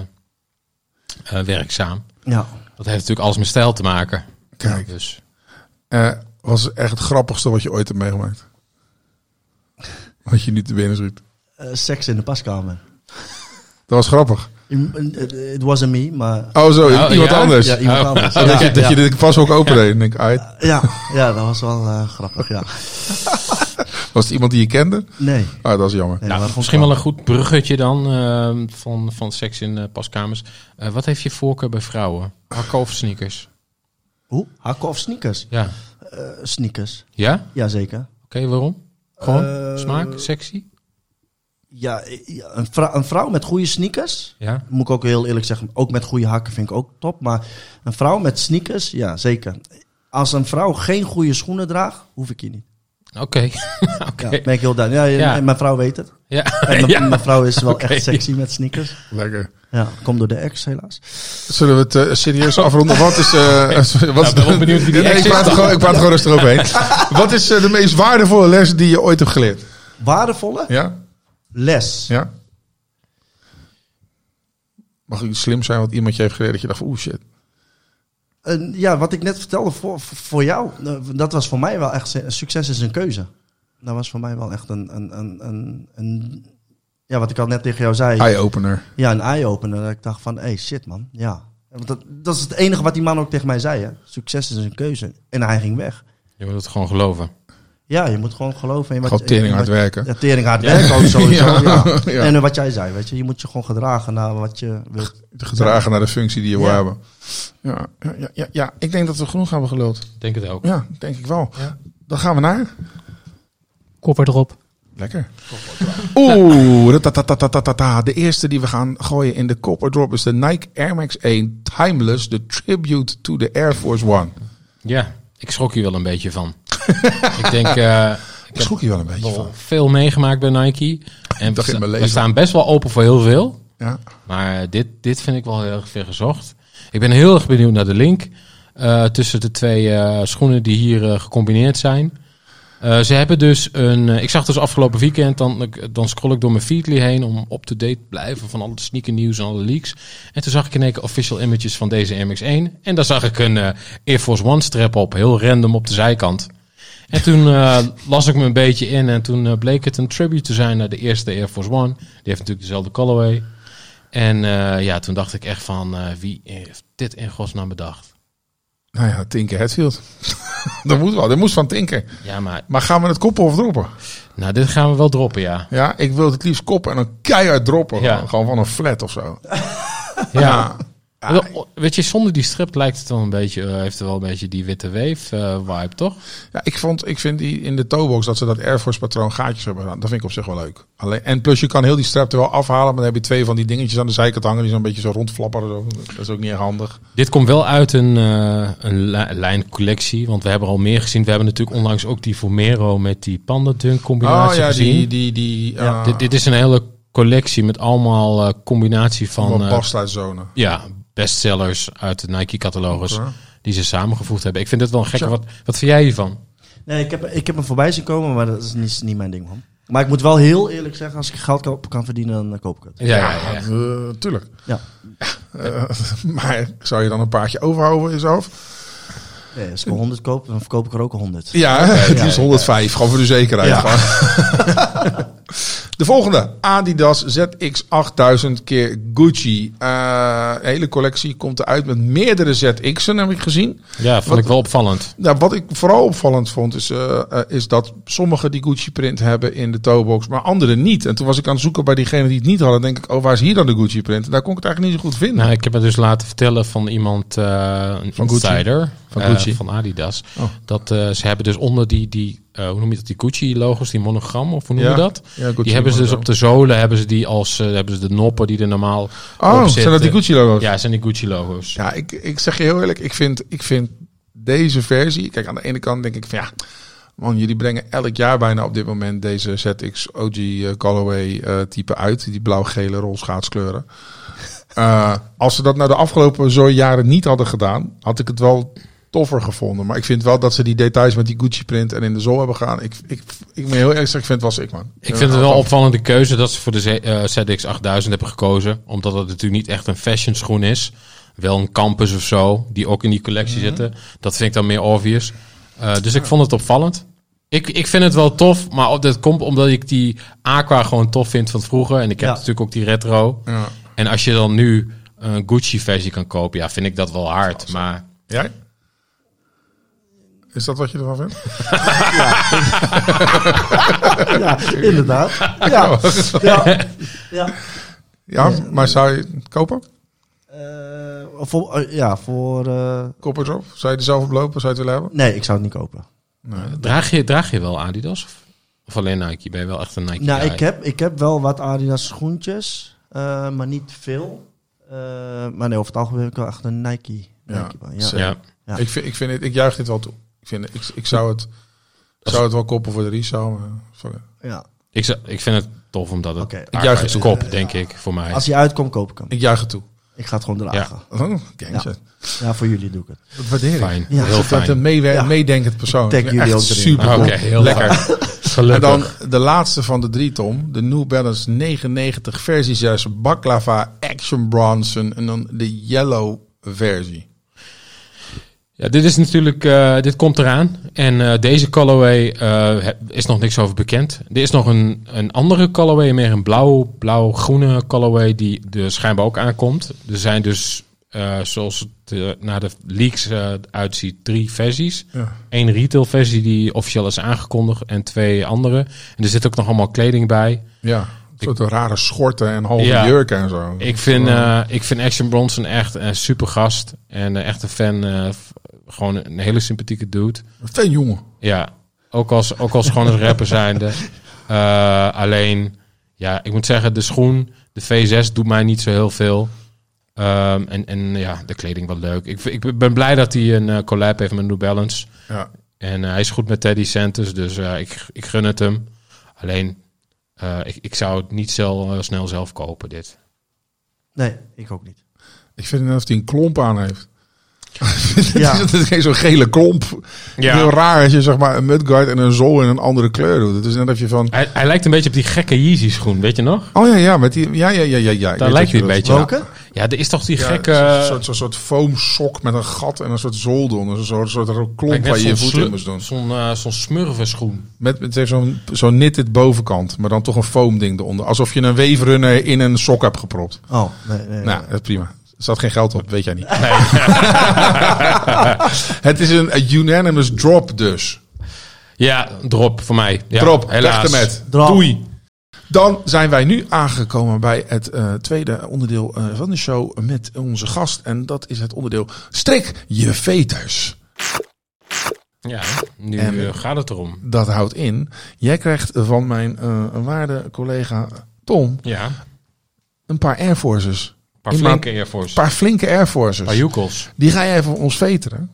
eh, werkzaam. Ja. Dat heeft natuurlijk alles met stijl te maken. Kijk. Dus. Eh, was echt het grappigste wat je ooit hebt meegemaakt. Wat je nu te binnen schiet. Eh, seks in de paskamer. eh, Dat was grappig. It wasn't me, maar... Oh zo, Oh, iemand ja? anders. Ja, iemand Oh. anders. Oh, dat, Ja, je, dat ja. je dit pas ook opendeed. En denk, ik, ah, eh, Ja, ja, dat was wel eh, grappig, ja. was het iemand die je kende? Nee. Ah, dat is jammer. nee Nou, dat vond ik misschien wel een goed bruggetje dan eh, van, van seks in eh, paskamers. Eh, wat heeft je voorkeur bij vrouwen? Hakken of sneakers? Hoe? Hakken of sneakers? Ja. Eh, sneakers, Ja? Oké, jazeker. waarom? Gewoon? Eh, Smaak? Sexy? Ja, eh, ja, een, vrou- een vrouw met goede sneakers, Ja. moet ik ook heel eerlijk zeggen, ook met goede hakken vind ik ook top. Maar een vrouw met sneakers, ja zeker. Als een vrouw geen goede schoenen draagt, hoef ik je niet. Oké. Oké. Ja, ben ik heel duidelijk. Ja, Ja. ja, nee, Mijn vrouw weet het. Ja. En mijn, Ja. mijn vrouw is wel Oké. echt sexy met sneakers. Lekker. Ja, komt door de ex helaas. Zullen we het eh, serieus afronden? Wat is... eh, wat is ben wel benieuwd wie die Nee, ex ik is praat dan. gewoon, ik praat gewoon rustig overheen. Wat is eh, de meest waardevolle les die je ooit hebt geleerd? Waardevolle Ja? les. Ja? Mag iets slim zijn wat iemand je heeft geleerd dat je dacht van, oeh shit. En ja, wat ik net vertelde voor, voor jou, eh, dat was voor mij wel echt een succes is een keuze. Dat was voor mij wel echt een, een, een, een, een ja, wat ik al net tegen jou Ah, zei. Eye-opener. Ja, een eye-opener. Dat ik dacht van, hé, hey, shit man, ja. Want dat, dat is het enige wat die man ook tegen mij zei, hè. Succes is een keuze. En hij ging weg. Je moet het gewoon geloven. Ja, je moet gewoon geloven in wat... Gewoon tering in hard wat- werken. Ja, tering hard werken ook sowieso, Ja. ja. Ja. En eh, wat jij zei, weet je. Je moet je gewoon gedragen naar wat je wilt. Te gedragen naar de functie die je wil Ja. hebben. Ja, ja, ja, ja, ja, ik denk dat we groen gaan hebben geloot. Ik denk het ook. Ja, denk ik wel. Ja. Dan gaan we naar. Kopper erop. Lekker. Oeh, ratatatata. de eerste die we gaan gooien in de copper drop is de Nike Air Max 1 Timeless, de tribute to the Air Force One. Ja, ik schrok hier wel een beetje van. ik denk, eh, ik Ik heb schrok je wel een beetje wel van. veel meegemaakt bij Nike. En we, Dag in sta- mijn we leven. staan best wel open voor heel veel. Ja. Maar eh, dit, dit vind ik wel heel erg ver gezocht. Ik ben heel erg benieuwd naar de link eh, tussen de twee eh, schoenen die hier eh, gecombineerd zijn. Eh, ze hebben dus een. eh, ik zag dus afgelopen weekend, dan, dan scroll ik door mijn Feedly heen om up-to-date te blijven van al het sneaker nieuws en alle leaks. En toen zag ik in één keer official images van deze MX1. En daar zag ik een eh, Air Force One strap op, heel random op de zijkant. En toen eh, las ik me een beetje in en toen eh, bleek het een tribute te zijn naar de eerste Air Force One. Die heeft natuurlijk dezelfde colorway. En eh, ja, toen dacht ik echt van, eh, wie heeft dit in godsnaam bedacht? Nou ja, Tinker Hatfield. dat moet wel, dat moest van Tinker. Ja, maar Maar gaan we het koppen of droppen? nou, dit gaan we wel droppen, ja. Ja, ik wil het liefst koppen en dan keihard droppen. Ja. Gewoon, gewoon van een flat of zo. ja. Wel, Weet je, zonder die strip lijkt het wel een beetje, eh, heeft er wel een beetje die witte weef eh vibe, toch? Ja, ik, vond, ik vind die in de toebox dat ze dat Air Force patroon gaatjes hebben gedaan. Dat vind ik op zich wel leuk. Alleen, en plus je kan heel die strap er wel afhalen, maar dan heb je twee van die dingetjes aan de zijkant hangen die zo'n beetje zo rondflapperen. Zo. Dat is ook niet erg handig. Dit komt wel uit een, eh, een li- lijn collectie, want we hebben er al meer gezien. We hebben natuurlijk onlangs ook die Vomero met die pandadunk combinatie Oh ja, gezien. die... die, die Ja, eh, Dit, dit is een hele collectie met allemaal eh, combinatie van allemaal eh, barsluitzone. ja, bestsellers uit de Nike-catalogus Oké. die ze samengevoegd hebben. Ik vind dit wel een gekke. Tja. Wat, wat vind jij hiervan? Nee, ik heb, ik heb hem voorbij zien komen, maar dat is niet, niet mijn ding, man. Maar ik moet wel heel eerlijk zeggen, als ik geld kan, kan verdienen, dan eh, koop ik het. Ja, Ja, eh, tuurlijk. Ja. Eh, maar zou je dan een paardje overhouden voor jezelf? Nee, als ik er 100 koop, dan verkoop ik er ook 100. Ja, het ja, is 105. Gewoon voor de zekerheid. Ja. Gewoon. de volgende. Adidas ZX8000 keer Gucci. Eh, de hele collectie komt eruit met meerdere ZX'en, heb ik gezien. ja vond Wat- ik wel opvallend. Nou, wat ik vooral opvallend vond, is, eh, eh, is dat sommigen die Gucci-print hebben in de toebox, maar anderen niet. En toen was ik aan het zoeken bij diegenen die het niet hadden. denk ik, oh, waar is hier dan de Gucci-print? En daar kon ik het eigenlijk niet zo goed vinden. Nou, ik heb het dus laten vertellen van iemand, eh, een Van Gucci. insider. Van eh, Gucci. van Adidas. Oh. Dat eh, ze hebben dus onder die, die eh, hoe noem je dat, die Gucci-logos, die monogram, of hoe noem je Ja. dat? Ja, Gucci die hebben ze dus logo. op de zolen, hebben ze die als, eh, hebben ze de noppen die er normaal op Oh, zitten. zijn dat die Gucci-logo's? Ja, zijn die Gucci-logos. Ja, ik, ik zeg je heel eerlijk, ik vind, ik vind deze versie. Kijk, aan de ene kant denk ik van ja. Man, jullie brengen elk jaar bijna op dit moment deze ZX OG eh, Callaway eh, type uit. Die blauw-gele rolschaatskleuren. Eh, als ze dat nou de afgelopen zo jaren niet hadden gedaan, had ik het wel toffer gevonden. Maar ik vind wel dat ze die details met die Gucci print en in de zol hebben gegaan. Ik, ik, ik ben heel eerlijk zeggen, ik vind het was ik man. Ik vind het wel een opvallende keuze dat ze voor de Z- eh, ZX 8000 hebben gekozen. Omdat het natuurlijk niet echt een fashion schoen is. Wel een campus of zo, die ook in die collectie Mhm. zitten. Dat vind ik dan meer obvious. Eh, dus ik vond het opvallend. Ik, ik vind het wel tof, maar op, dat komt omdat ik die Aqua gewoon tof vind van vroeger. En ik heb Ja. natuurlijk ook die retro. Ja. En als je dan nu een Gucci-versie kan kopen, ja, vind ik dat wel hard. Maar Jij? Is dat wat je ervan vindt? Ja, inderdaad. Ja, ja. ja. Ja, maar zou je het kopen? Eh, voor, eh, ja, voor... eh, Koppers erop? Zou je er zelf op lopen? Zou je het willen hebben? nee, ik zou het niet kopen. draag je, draag je wel Adidas? Of, of alleen Nike? Ben je wel echt een Nike Nou, guy? ik heb, ik heb wel wat Adidas schoentjes, eh, maar niet veel. Eh, maar nee, over het algemeen heb ik wel echt een Nike. Ja, Nike baan, zeker. Ja. Ja. Ik, vind, ik, vind het, ik juich dit wel toe. Ik, vind, ik, ik zou, het, ik zou het wel koppen voor de resale. Maar, sorry. ja. Ik, zou- ik vind het tof omdat het Oké. Aqua Ik juich het is toe. kop, denk ik, voor mij. Als hij uitkomt, koop ik hem. Ik juich het toe. Ik ga het gewoon dragen. Oh, gangster. Ja, voor jullie doe ik het. Dat waardeer ik. Fijn, heel Ja, Ik vind het een fijn. meewer- Ja. meedenkend persoon. Ik tag Ik vind jullie echt ook erin. super Ah, Oké, cool. heel lekker. En Gelukkig. dan de laatste van de drie, Tom. De New Balance 99 versies. Juist Baklava, Action Bronson en dan de Yellow versie. Ja, dit is natuurlijk, eh, dit komt eraan. En eh, deze colorway eh, he- is nog niks over bekend. Er is nog een, een andere colorway, meer een blauw, blauw-groene colorway, die er schijnbaar ook aankomt. Er zijn dus, eh, zoals het eh, naar de leaks eh, uitziet, drie versies. Ja. Eén retail versie die officieel is aangekondigd en twee andere. En er zit ook nog allemaal kleding bij. Ja, een soort rare schorten en halve Ja. jurken en zo. Ik vind, eh, ik vind Action Bronson echt een super gast. En eh, echt een fan. eh, f- gewoon een hele sympathieke dude. Fijn jongen. Ja, ook als, ook als gewoon een rapper zijnde. Eh, alleen, ja, ik moet zeggen, de schoen, de V6 doet mij niet zo heel veel. Ehm, en, en ja, de kleding wat leuk. Ik, vind- ik ben blij dat hij een eh, collab heeft met New Balance. Ja. En eh, hij is goed met Teddy Santos, dus eh, ik, ik gun het hem. Alleen, eh, ik, ik zou het niet zo eh, snel zelf kopen, dit. Nee, ik ook niet. Ik vind net of hij een klomp aan heeft. Ja. het is geen zo'n gele klomp. Ja. Heel raar als je zeg maar een mudguard en een zool in een andere kleur doet. Het is net of je van... Hij, hij lijkt een beetje op die gekke Yeezy schoen, weet je nog? Oh ja, ja, met die... Ja, ja, ja, ja. ja. Ik weet Daar wat lijkt je hij een bedoelt. beetje op. Welke? Ja, er is toch die Ja, gekke... Zo'n soort, zo'n soort foamsok met een gat en een soort zool eronder. Zo'n soort, soort ro- klomp lijkt net waar je je zo'n voet slu- in moest doen. Zo'n eh, zo'n smurfenschoen. Met, met zo'n zo'n knitted bovenkant, maar dan toch een foam ding eronder. Alsof je een weefrunner in een sok hebt gepropt. Oh, nee, nee. Nou, dat is prima. Er zat geen geld op, weet jij niet. het is een, een unanimous drop dus. Ja, drop voor mij. Ja, drop, helaas. weg ermee. Drop. Doei. Dan zijn wij nu aangekomen bij het eh, tweede onderdeel eh, van de show met onze gast. En dat is het onderdeel Strik je veters. Ja, nu En- eh, gaat het erom. Dat houdt in, jij krijgt van mijn eh, waarde collega Tom Ja, een een paar Air Forces. paar In flinke Air Force. Een Een paar flinke Air Forces. paar joekels. Die ga jij even voor ons veteren.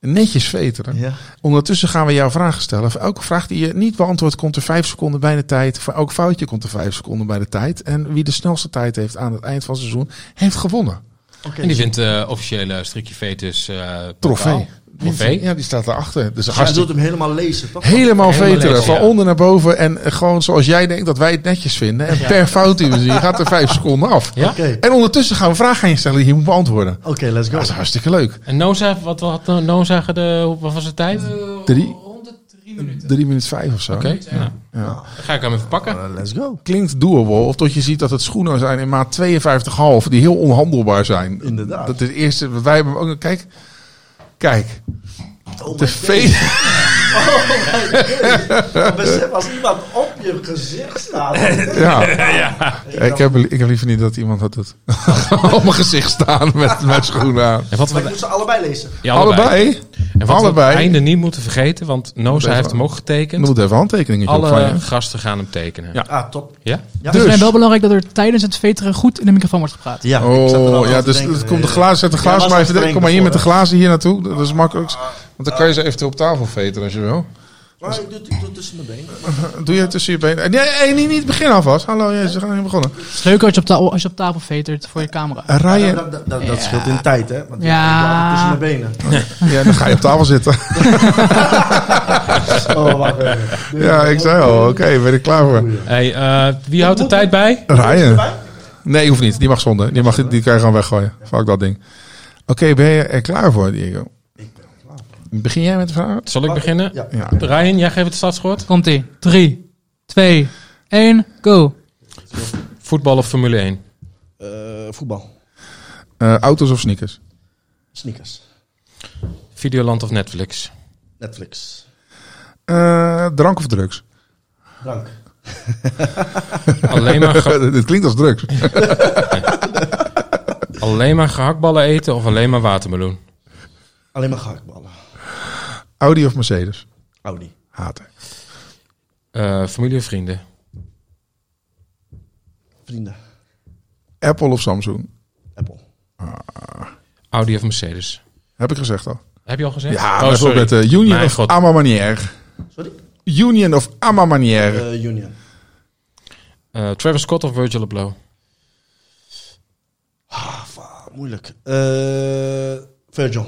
Netjes veteren. Ja. Ondertussen gaan we jou vragen stellen. Voor elke vraag die je niet beantwoordt, komt er vijf seconden bij de tijd. Voor elk foutje komt er vijf seconden bij de tijd. En wie de snelste tijd heeft aan het eind van het seizoen, heeft gewonnen. Oké. En die vindt eh officiële strikje fetus eh Trofee. bokaal. Trofee. Ja, die staat daarachter. Dus Jij hartstikke... wilt hem helemaal lezen, toch? Helemaal Helemaal veteren, lekker, van ja. onder naar boven. En eh, gewoon zoals jij denkt dat wij het netjes vinden. En per fout die we zien, gaat er vijf seconden af. Ja? Oké, En ondertussen gaan we vragen aan je stellen die je moet beantwoorden. Oké, let's Dat is go. hartstikke leuk. En Noza, wat had eh, Noza de, hoe- wat was de tijd? Eh, Oké. Drie. Rond de drie minuten. Drie minuten vijf of zo. nou, Ja. dan ga ik hem even pakken. Eh, let's go. Klinkt doable, of tot je ziet dat het schoenen zijn in maat 52,5 die heel onhandelbaar zijn. Inderdaad. Dat is het eerste. Wij hebben hem ook. Kijk, Oh my Oh de days. veters. Maar Besef, als iemand op je gezicht staat. Ja. Ik, heb, ik heb liever niet dat iemand dat doet. Op mijn gezicht staan met, met schoenen aan. En wat we, Maar ik moet ze allebei lezen. ja, allebei. Allebei? En wat we allebei. het einde niet moeten vergeten, want Noza Even- heeft hem ook Dan getekend. moet even handtekeningen op van Alle je. gasten gaan hem tekenen. Ja. Ah, top. Ja? Ja, Dus- Het is wel belangrijk dat er tijdens het veteren goed in de microfoon wordt gepraat. ja, ik zat er al Oh, aan ja, te dus denken. het komt de glazen, zet de glazen was maar al even... streng Kom maar hier ervoor, met de hè? glazen hier naartoe. Dat is makkelijk. Want dan kan je ze eventueel op tafel veten als je wil. Maar ik doe het- ik doe het tussen mijn benen. Doe je tussen je benen. Nee, hey, niet, niet het begin alvast. Hallo, jezus, we gaan niet begonnen. Het is leuk als je op, ta- als je op tafel vetert voor je camera. Ryan, Dat, dat, dat, dat scheelt in tijd, hè? Want Ja. ik doe het tussen mijn benen. ja, dan ga je op tafel zitten. Oh, wacht even. Ja, ik zei al, oké, ben ik klaar voor. Hey, eh, wie houdt de tijd bij? Ryan. Nee, hoeft niet. Die mag zonder. Die, mag, die kan je gewoon weggooien. Fuck dat ding. Oké, ben je er klaar voor, Diego? Begin jij met de vraag? Zal ik beginnen? Ja. Oh, Ja. Ryan, jij geeft het startschot. Komt ie. 3, 2, 1, go. Voetbal of Formule 1? Eh, voetbal. Eh, auto's of sneakers? Sneakers. Videoland of Netflix? Netflix. Eh, drank of drugs? Drank. Alleen maar, ge- Dit klinkt als drugs. alleen maar gehaktballen eten of alleen maar watermeloen? Alleen maar gehaktballen. Audi of Mercedes? Audi. Haten. Eh, familie of vrienden? Vrienden. Apple of Samsung? Apple. Audi of Mercedes? Heb ik gezegd al. Heb je al gezegd? Ja, oh, sorry. bijvoorbeeld eh, Union Mijn of god. Ama Manière. Sorry? Union of Ama Manière. Eh, Union. Eh, Travis Scott of Virgil Abloh? Ah, fa- moeilijk. Eh, Virgil.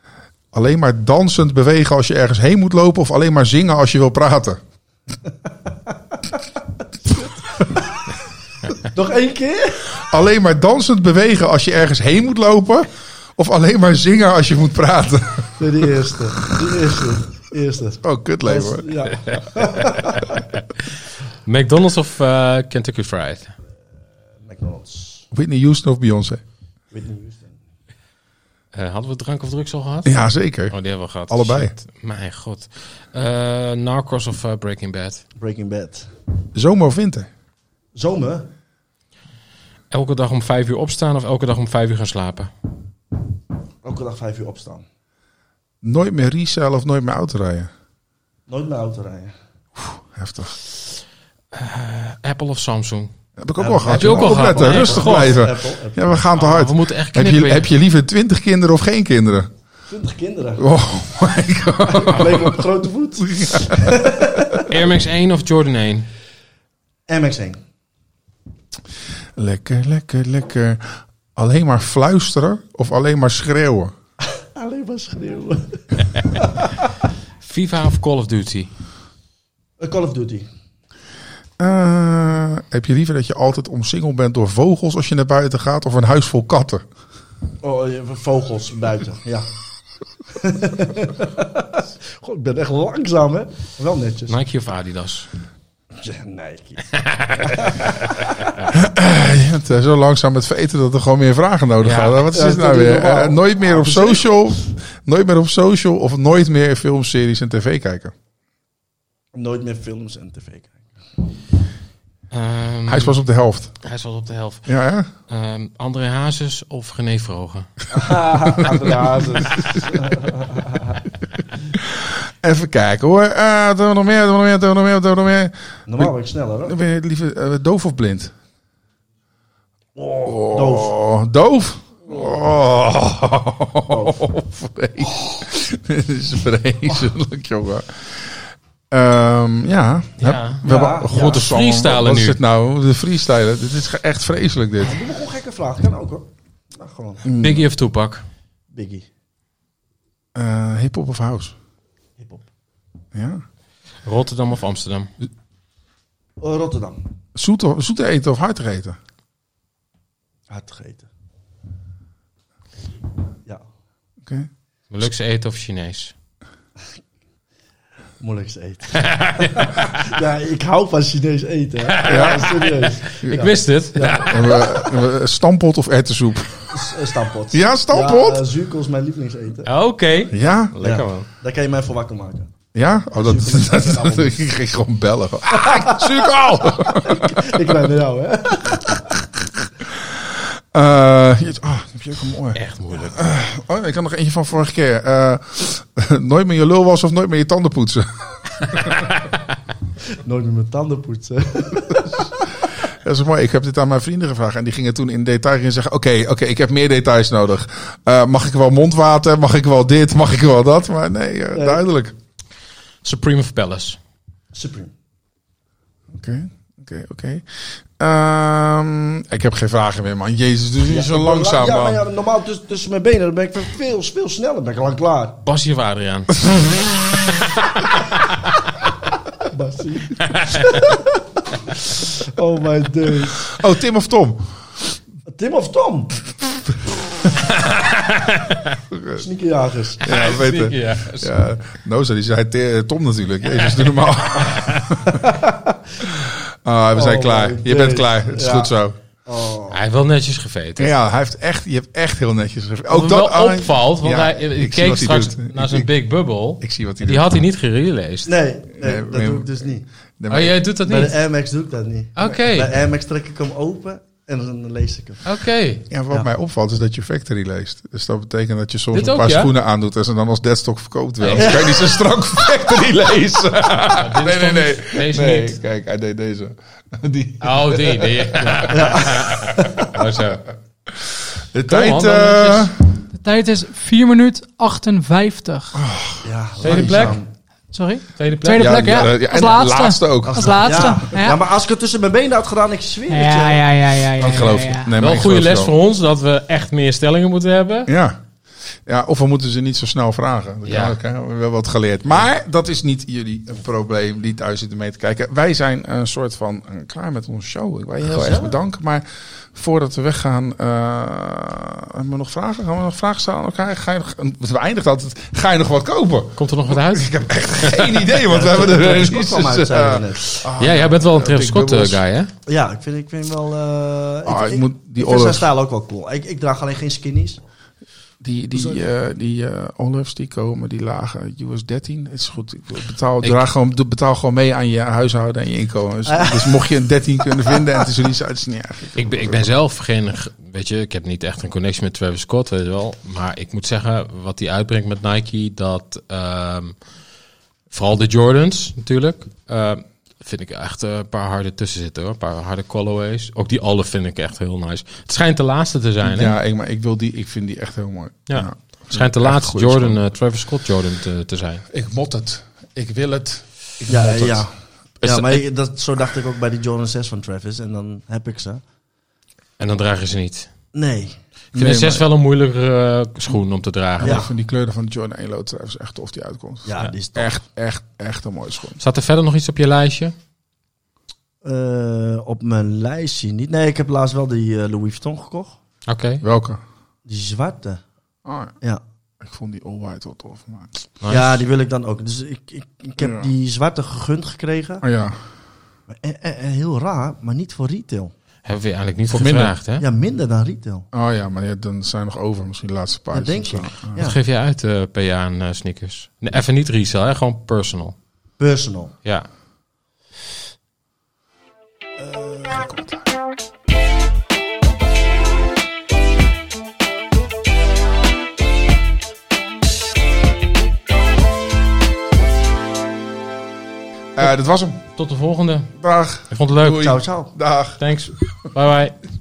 Alleen maar dansend bewegen als je ergens heen moet lopen... of alleen maar zingen als je wil praten? Nog één keer? Alleen maar dansend bewegen als je ergens heen moet lopen... of alleen maar zingen als je moet praten? Nee, die eerste. Die eerste. Eerste. Oh, kut leven hoor. Ja. McDonald's of eh, Kentucky Fried? McDonald's. Whitney Houston of Beyoncé? Whitney Houston. Eh, hadden we drank of drugs al gehad? Jazeker. Oh, die hebben we gehad. Allebei. Shit. Mijn god. Eh, Narcos of eh, Breaking Bad? Breaking Bad. Zomer of winter? Zomer. Elke dag om vijf uur opstaan of elke dag om vijf uur gaan slapen? Elke dag vijf uur opstaan. Nooit meer resell of nooit meer auto rijden? Nooit meer auto rijden. Heftig. Apple of Samsung? Heb ik ook Ja, al dat gehad. heb je ook jongen. al gehad, Opletten, man. rustig God. blijven. Apple. Apple. Ja, we gaan te Ah, hard. we moeten Heb echt knippen je, weer. heb je liever 20 kinderen of geen kinderen? 20 kinderen. Oh my god. Ik leef op grote voet. Air Max 1 of Jordan 1? MX1. Lekker, lekker, lekker. Alleen maar fluisteren of alleen maar schreeuwen? Alleen maar schreeuwen. FIFA of Call of Duty? Eh, Call of Duty. Eh, heb je liever dat je altijd omsingeld bent door vogels als je naar buiten gaat of een huis vol katten? Oh, eh, vogels buiten, ja. Goh, ik ben echt langzaam, hè? Wel netjes. Nike of Adidas? Ja, Nike. Eh, je bent, eh, zo langzaam met veten dat er gewoon meer vragen nodig Ja. gaan. Wat is Ja, dit dat nou doe je weer? normaal. Eh, nooit meer op social, nooit meer op social of nooit meer films, series en tv kijken. Nooit meer films en tv kijken. Ehm, Hij is pas op de helft. hij is wel op de helft. Ja, hè? Ehm, André Hazes of René Vrogen? Aan de hazes. Even kijken hoor. Eh, Wat doen we nog meer? Wat doen we nog meer? Wat doen we nog meer? Wat doen we nog meer? Normaal ben ik sneller, hoor. Dan Ben je liever eh, doof of blind? Oh, doof. Oh, doof? Oh, vrees. Dit is vreselijk, jongen. Ehm, ja. Ja. We hebben Ja. grote Ja. Freestylen Wat is nu. het nou? De freestylen. Dit is echt vreselijk, dit. Doe maar gewoon gekke vraag. Kan ook, hoor. Nou, gewoon. Hmm. Biggie of Tupac? Biggie. Eh, Hip-hop of house? Hip-hop. Ja. Rotterdam of Amsterdam? Eh, Rotterdam. Zoet, of- zoete eten of hard eten? Hard gegeten. Ja. Oké. Molukse eten of Chinees? Moeilijkste eten. ja, ik hou van Chinees eten. Hè. Ja, serieus. Ik wist het. En we- en we- eh, Stampot of erwtensoep? S- eh, Stampot. Ja, stampot? Ja, eh, zuurkool is mijn lievelingseten. Oké. Ja? Lekker Ja. man. Daar kan je mij voor wakker maken. Ja? Ja? Oh, dat, dat, ik ging gewoon bellen. Gewoon, Ah, Zuurkool! Ik ben met jou, hè? Eh, hier is- oh, heb je ook een mooi. Echt moeilijk. Oh, ik had nog eentje van vorige keer. Eh, nooit meer je lul was of nooit meer je tanden poetsen. Nooit meer mijn tanden poetsen. Dat is mooi. Ik heb dit aan mijn vrienden gevraagd. En die gingen toen in detail in zeggen: Oké, oké, ik heb meer details nodig. Eh, mag ik wel mondwater? Mag ik wel dit? Mag ik wel dat? Maar nee, eh, Nee. duidelijk. Supreme of Palace. Supreme. Oké, oké, oké. Ehm, Ik heb geen vragen meer, man. Jezus, doe niet zo langzaam, Ja, maar man. ja, normaal tussen, tussen mijn benen dan ben ik veel, veel sneller. Ben ik lang klaar. Basje of Adriaan? Bassie. oh my days. Oh, Tim of Tom? Tim of Tom? Sneakerjagers. Ja, weten. Ja. Ja, Noza, die zei Te- Tom natuurlijk. Jezus, doe normaal. Ah, we zijn Oh, klaar. my Je bent days. klaar. Het is Ja. goed zo. Oh. Hij heeft wel netjes geveten. Ja, hij heeft echt, je hebt echt heel netjes geschreven. Ook Ook dat dat wel opvalt, want Ja, hij ik ik zie keek wat hij straks doet. naar Ik- zijn ik- Big Bubble. Ik zie wat hij Die doet. had hij niet gereleased. Nee, nee, Nee, dat nee. doe ik dus niet. Nee, maar Oh, jij doet dat Bij niet? de Air Max doe ik dat niet. Oké, Bij Air Max trek ik hem open en dan lees ik hem. oké. Ja, wat Ja. mij opvalt is dat je Factory leest. Dus dat betekent dat je soms Dit een ook, paar ja? schoenen aandoet en ze dan als deadstock verkoopt wel. Nee. Dan kan je niet zo strak Factory lezen. Nou, dit Nee, nee, is toch nee. niet- Deze nee, niet. kijk, hij deed deze. Die. Oh, die. die. Oh, zo. De tijd... man, eh dan netjes. De tijd is 4 minuten 58. Ja, Tweede plek. langzaam. Sorry? Tweede plek. Tweede ja, plek, ja. ja, ja, en Als de laatste. laatste ook. Als laatste. Ja. Ja, Ja, maar als ik het tussen mijn benen had gedaan, ik zweer het ja, je. ja, ja, ja, ja, Ik geloof je. ja, ja. Nee, maar Wel een ik goede geloof les je voor ons dat we echt meer stellingen moeten hebben. wel. Ja. Ja, of we moeten ze niet zo snel vragen. Dat Ja. kan ook, hè. We hebben wel wat geleerd. Maar dat is niet jullie probleem die thuis zitten mee te kijken. Wij zijn een soort van eh, klaar met onze show. Ik wil je heel erg bedanken. Maar voordat we weggaan, eh, hebben we nog vragen? Gaan we nog vragen stellen aan elkaar? Ga je nog, we eindigen altijd. Ga je nog wat kopen? Komt er nog wat uit? Ik heb echt geen idee, want we hebben de Oh, Dat is ook releases. allemaal uit, zei je eh, net. ah, Ja, jij bent wel een Travis Big Scott eh, Bubbles. guy, hè? Ja, ik vind, ik vind wel... eh Ah, ik moet die vind zijn olives. stijl ook wel cool. Ik, ik draag alleen geen skinnies. Die, die, eh, die eh, olives die komen, die lagen US 13. Het is goed. Ik Betaal, Ik- draag gewoon, doe- betaal gewoon mee aan je huishouden en je inkomen. Dus, dus mocht je een 13 kunnen vinden en het is er niet uit, is het niet erg. Ik ben, ik ben zelf geen, g- weet je, ik heb niet echt een connectie met Travis Scott, weet je wel. Maar ik moet zeggen, wat hij uitbrengt met Nike, dat ehm, vooral de Jordans natuurlijk, ehm, vind ik echt eh, een paar harde tussen zitten hoor. Een paar harde colorways. Ook die alle vind ik echt heel nice. Het schijnt de laatste te zijn, hè? Ja, ik, maar ik, wil die, ik vind die echt heel mooi. Ja. Het schijnt de Echt laatste goede Jordan, schoen. eh, Travis Scott Jordan te, te zijn. Ik mot het. Ik wil het. Ik Ja, mot het. ja. Is- Ja, maar ik- dat, zo dacht ik ook bij die Jordan 6 van Travis. En dan heb ik ze. En dan dragen ze niet. Nee. Ik vind Nee, de 6 wel een moeilijkere eh, schoen om te dragen. Ja. Ja. Ik vind die kleuren van de Jordan 1 loodstrijf is echt tof die uitkomt. Ja, die is top. Echt, echt, echt een mooie schoen. Staat er verder nog iets op je lijstje? Eh, op mijn lijstje niet. Nee, ik heb laatst wel die eh, Louis Vuitton gekocht. Oké. Welke? Die zwarte. Ah, Ja, ik vond die all white wel tof. Maar... nice. ja die wil ik dan ook. Dus ik, ik, ik heb Ja. die zwarte gegund gekregen. Oh ja. En, en- en eh, heel raar, maar niet voor retail. Hebben we je eigenlijk niet Voor minder. gevraagd, hè? Ja, minder dan retail. Oh ja, maar ja, dan zijn nog over misschien de laatste paar. Dat denk of zo. ik. Ja. Wat Ja. geef jij uit eh, per jaar aan eh, sneakers? Nee, even niet resell, hè? gewoon personal. Personal. Ja. Eh, dat was hem. Tot de volgende. Dag. Ik vond het leuk. Doei. Eh, Ciao, ciao. Dag. Thanks. Bye bye.